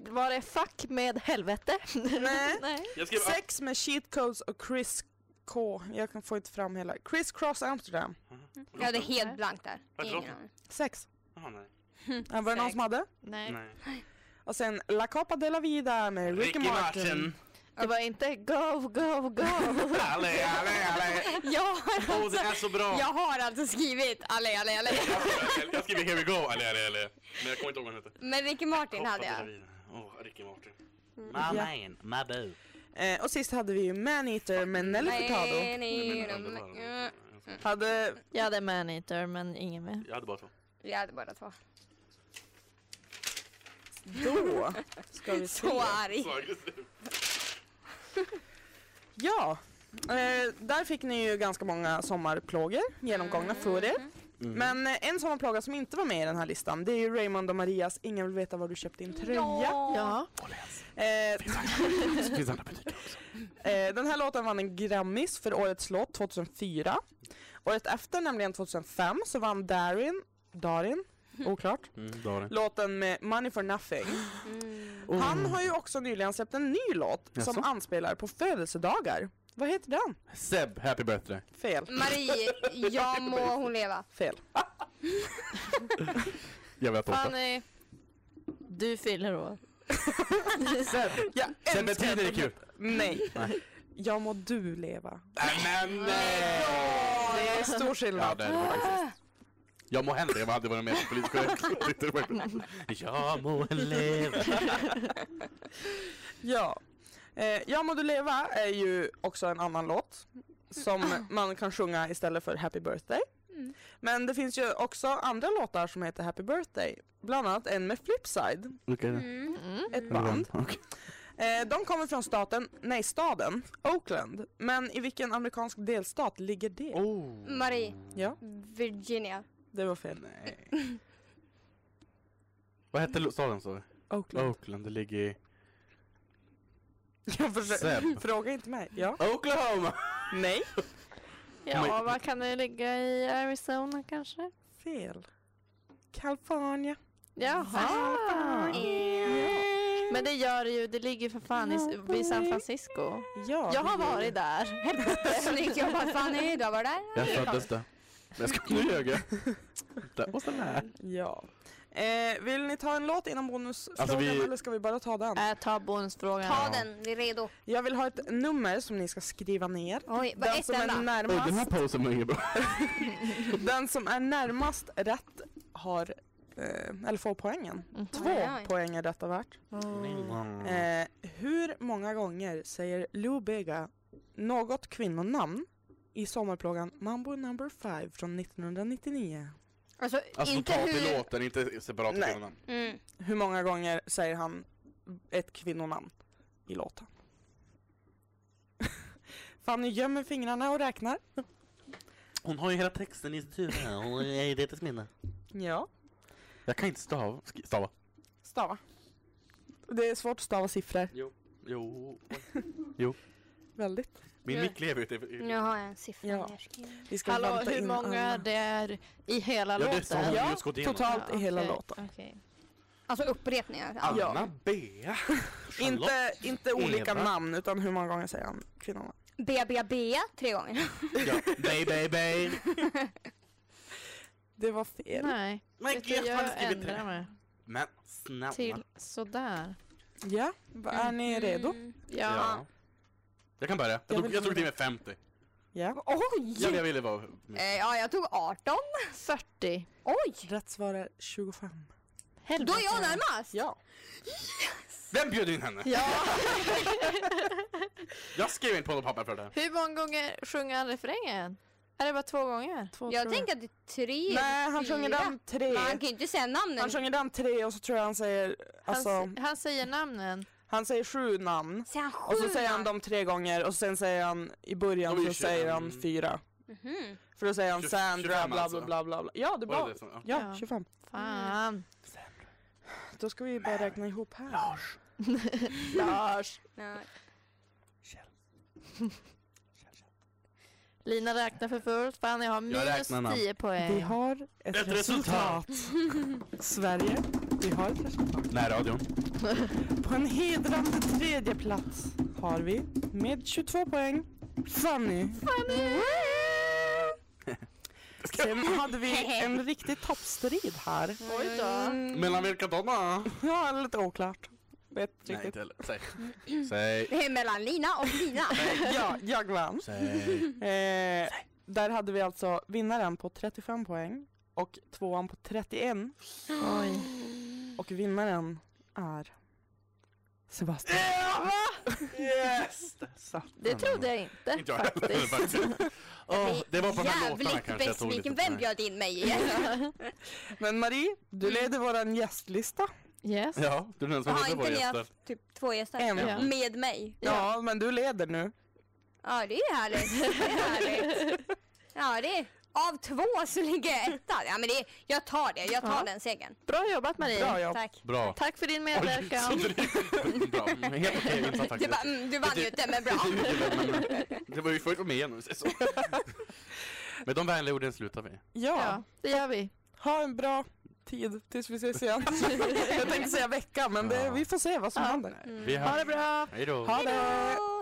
E: Var det fuck med helvete?
B: Nej.
E: Nej.
C: jag skrev
B: Sex med Cheat Codes och Chris K. Jag kan få inte fram hela. Chris Cross Amsterdam.
D: Jag hade helt blankt där.
C: Vart
D: Ingen
C: låter?
D: aning.
B: Sex.
C: Ah, nej.
B: Eh, var det någon
D: Mm, Sex.
B: som hade?
E: Nej.
C: nej.
B: Och sen La Copa de la Vida med Ricky, Martin.
E: Det var inte go, go, go.
C: Alle, alle, alle.
D: Jag har
C: Åh, det
D: alltså,
C: är så bra.
D: jag har alltså skrivit alle, alle, alle.
C: Jag skriver Here we go, alle, alle, alle. Men jag kommer inte ihåg vad den heter.
D: Men Ricky Martin hade jag.
C: Åh, Ricky Martin.
B: Ja.
C: man, my boo.
B: Eh, och sist hade vi ju Maneater med Nelly Furtado.
D: Nej, nej, nej.
B: Hade...
E: Jag hade Maneater men ingen mer.
C: Jag hade bara två.
D: Jag hade båda två.
B: Då ska vi se.
D: Så arg.
C: Så aggressiv.
B: Ja. Eh, där fick ni ju ganska många sommarplågor genomgångna för er. Men eh, en sommarplåga som inte var med i den här listan det är ju Raymond och Marias Ingen vill veta var du köpt din tröja.
E: Ja.
B: Eh,
C: Det finns andra butiker också.
B: Eh, den här låten vann en Grammis för årets låt 2004. Året efter, nämligen 2005, så vann Darin, Darin, oklart,
C: Mm, då har det.
B: låten med Money for nothing. Han har ju också nyligen släppt en ny låt
C: Jaså?
B: som anspelar på födelsedagar. Vad heter den?
C: Seb, happy birthday.
B: Fel,
D: Marie, jag må hon leva.
B: fel.
C: Jag vet inte.
E: Fanny. Du fyller år.
B: Seb, jag
C: Seb,
B: älskar
C: betyder det
B: att de-
C: kul?
B: Nej.
C: Nej.
B: Jag må du leva.
C: Nej, men nej!
B: Det är stor
C: Ja,
B: skillnad.
C: det är det faktiskt. Jag må henne leva hade varit mer politisk Jag må leva.
B: Ja. Eh, jag må du leva är ju också en annan låt som man kan sjunga istället för Happy birthday. Men det finns ju också andra låtar som heter Happy birthday. Bland annat en med Flipside,
C: Okej.
B: Mm.
D: Mm.
B: ett band. Eh, de kommer från staten, nej staden, Oakland. Men i vilken amerikansk delstat ligger det?
C: Oh.
D: Oh. Marie,
B: Ja,
D: Virginia.
B: det var fel.
C: Vad hette lo- staden sa du?
B: Oakland.
C: Oakland, det ligger i...
B: Jag försöker,
C: Seb.
B: fråga inte mig. Ja.
C: Oklahoma!
B: Nej.
E: Ja,
C: Men-
E: vad kan det ligga i Arizona kanske?
B: Fel. California.
D: Ah,
E: Jaha. Men det gör det ju, det ligger för fan i, vid San Francisco.
B: Ja,
E: Jag
B: det
E: har
B: är-
E: varit där.
D: Snyggt jobbat Fanny, du har varit där.
C: Jag föddes där. Men jag ska... Nu ljög jag. Där och sen här.
B: Ja. Eh, vill ni ta en låt innan bonusfrågan
C: Alltså, vi-
B: eller ska vi bara ta den?
E: Äh, ta bonusfrågan.
D: Ta den, vi är redo.
B: Jag vill ha ett nummer som ni ska skriva ner.
D: Oj, bara
B: Den
D: ett
B: som, är
D: enda.
C: Oj, den här
B: närmast,
C: posen var ingen bra.
B: den som är närmast rätt har eh, eller får poängen. Två
D: Mm. Oj, oj.
B: poäng är detta värt.
C: Mm.
B: Eh, hur många gånger säger Lou Bega något kvinnonamn i sommarplågan Mambo number 5 från 1999?
D: Alltså,
C: Alltså
D: inte
C: totalt i
D: hur...
C: låten, inte separat i
B: Nej.
C: filmen.
D: Mm.
B: Hur många gånger säger han ett kvinnonamn i låten? Fanny gömmer fingrarna och räknar.
C: Hon har ju hela texten i sitt huvud. Hon är ju det minne.
B: Ja.
C: Jag kan inte stava. Sk- stava.
B: Stava. Det är svårt att stava siffror.
C: Jo.
B: Väldigt.
C: Min mick lever ute. i-
D: Nu har jag en siffra.
B: Ja.
D: här skriven.
B: Vi ska
E: Hallå,
B: vänta
E: hur
B: in
E: många
B: alla.
E: det är i hela
C: Ja, det
E: låten?
C: har
B: Ja,
C: hon just gått igenom.
B: Totalt i hela
E: okej,
B: låten.
E: okej.
D: Alltså upprepningar. Ja.
B: Ja.
C: Anna Bea. Charlotte.
B: Inte, inte olika
C: Eva.
B: namn utan hur många gånger säger han kvinnorna?
D: B, B, B tre gånger.
C: Ja. Bay, bay, bay.
B: Det var fel.
E: Nej,
C: Men
E: vet du,
C: gud, han
E: jag
C: skrivit tre.
E: ändrar mig
C: Men snälla.
E: till sådär.
B: Ja, va- är ni redo?
E: Ja.
C: Ja. Jag kan börja. Jag
B: Jag
C: tog,
B: vill
C: jag
B: börja.
C: tog till med 50.
B: Ja.
D: Oj!
C: Ja, men jag ville vara...
D: Eh, ja, jag tog 18.
B: Alltså,
E: 40.
D: Oj!
B: Rätt svar är 25.
E: Helvete.
D: Då är jag närmast!
B: Ja.
C: Vem bjöd in henne?
E: Ja.
C: Jag skrev inte på något papper för det här.
E: Hur många gånger sjunger han refrängen? Är det bara två gånger?
B: Två,
D: Jag
B: tror
D: tänker att det är tre.
B: Nej, han
D: fyra.
B: sjunger den tre.
D: Men han kan ju inte säga namnen.
B: Han sjunger den tre och så tror jag han säger,
E: Han,
B: alltså,
E: han säger namnen.
B: han säger sju namn.
D: Säger han sju
B: Och så säger han
D: namn?
B: dem tre gånger och sen säger han i början
C: Då blir
B: så
C: det
B: säger han
C: tjugofem.
B: fyra.
D: Mhm.
B: För då säger han
C: Tjugofem
B: Sandra bla
C: alltså.
B: bla bla bla. bla. Ja det
C: Var
B: var
C: det så? Ja.
B: Ja,
E: Ja.
B: 25. Mm.
E: Fan.
B: Då ska vi bara räkna ihop här. Lars.
E: Lars.
D: Nej.
E: Lina räknar för fullt. Fan, jag har minus
C: räknar namn.
E: 10
B: Vi
E: poäng.
B: har ett,
C: Ett
B: resultat.
C: resultat.
B: Sverige, vi har ett resultat.
C: Nej, radion.
B: På en hedrande tredje plats har vi med 22 poäng Fanny. Fanny! Sen hade vi en riktig toppstrid här.
E: Oj då.
D: Mm.
C: Mellan vilka då? då?
B: Ja, lite oklart. Vet
C: Nej,
B: riktigt.
C: inte heller. Säg. Säg.
D: Det är mellan Lina och Lina.
B: Ja, jag vann.
C: Säg.
B: Eh, där hade vi alltså vinnaren på 35 poäng och tvåan på 31
E: Oj.
B: och vinnaren är Sebastian.
C: Yes! Där satt
E: Det
C: den.
E: trodde jag inte.
C: Inte jag heller
E: faktiskt.
C: faktiskt. Åh, det var på de här låtarna
D: Jävligt
C: kanske jag tog lite
D: besviken.
C: på
D: Vem
C: mig.
D: bjöd in mig igen?
B: Men Marie, du
E: Mm.
B: leder våran gästlista.
E: Yes.
C: Ja, du är den som
D: Har
C: hade
D: inte
C: våra
D: ni
C: gäster.
D: haft typ två gäster?
B: En.
E: Ja.
D: Med mig?
B: Ja, men du leder nu.
D: Ja, det är härligt. Det är härligt. Ja, det är... Av två så ligger jag etta. Ja, men det är... Jag tar det. Jag tar
E: Ja.
D: den segern.
E: Bra jobbat Marie.
B: Bra jobb.
D: Tack.
C: Bra.
E: Tack för din
C: Oj,
E: medverkan.
C: så drygt. Bra. Helt okej insats
D: Du, bara,
C: faktiskt.
D: mm, du vann ju inte, men bra.
C: Det var ju först med igen om vi säger så. Med de vänliga orden slutar vi.
B: Ja,
E: Ja, det gör vi.
B: ha en bra tid tills vi ses igen. jag tänkte säga vecka, men det, vi får se vad som
E: Ja.
D: Mm.
B: händer.
C: Vi
E: Ha
C: hörs.
E: det bra.
C: Hej då.
B: Ha det!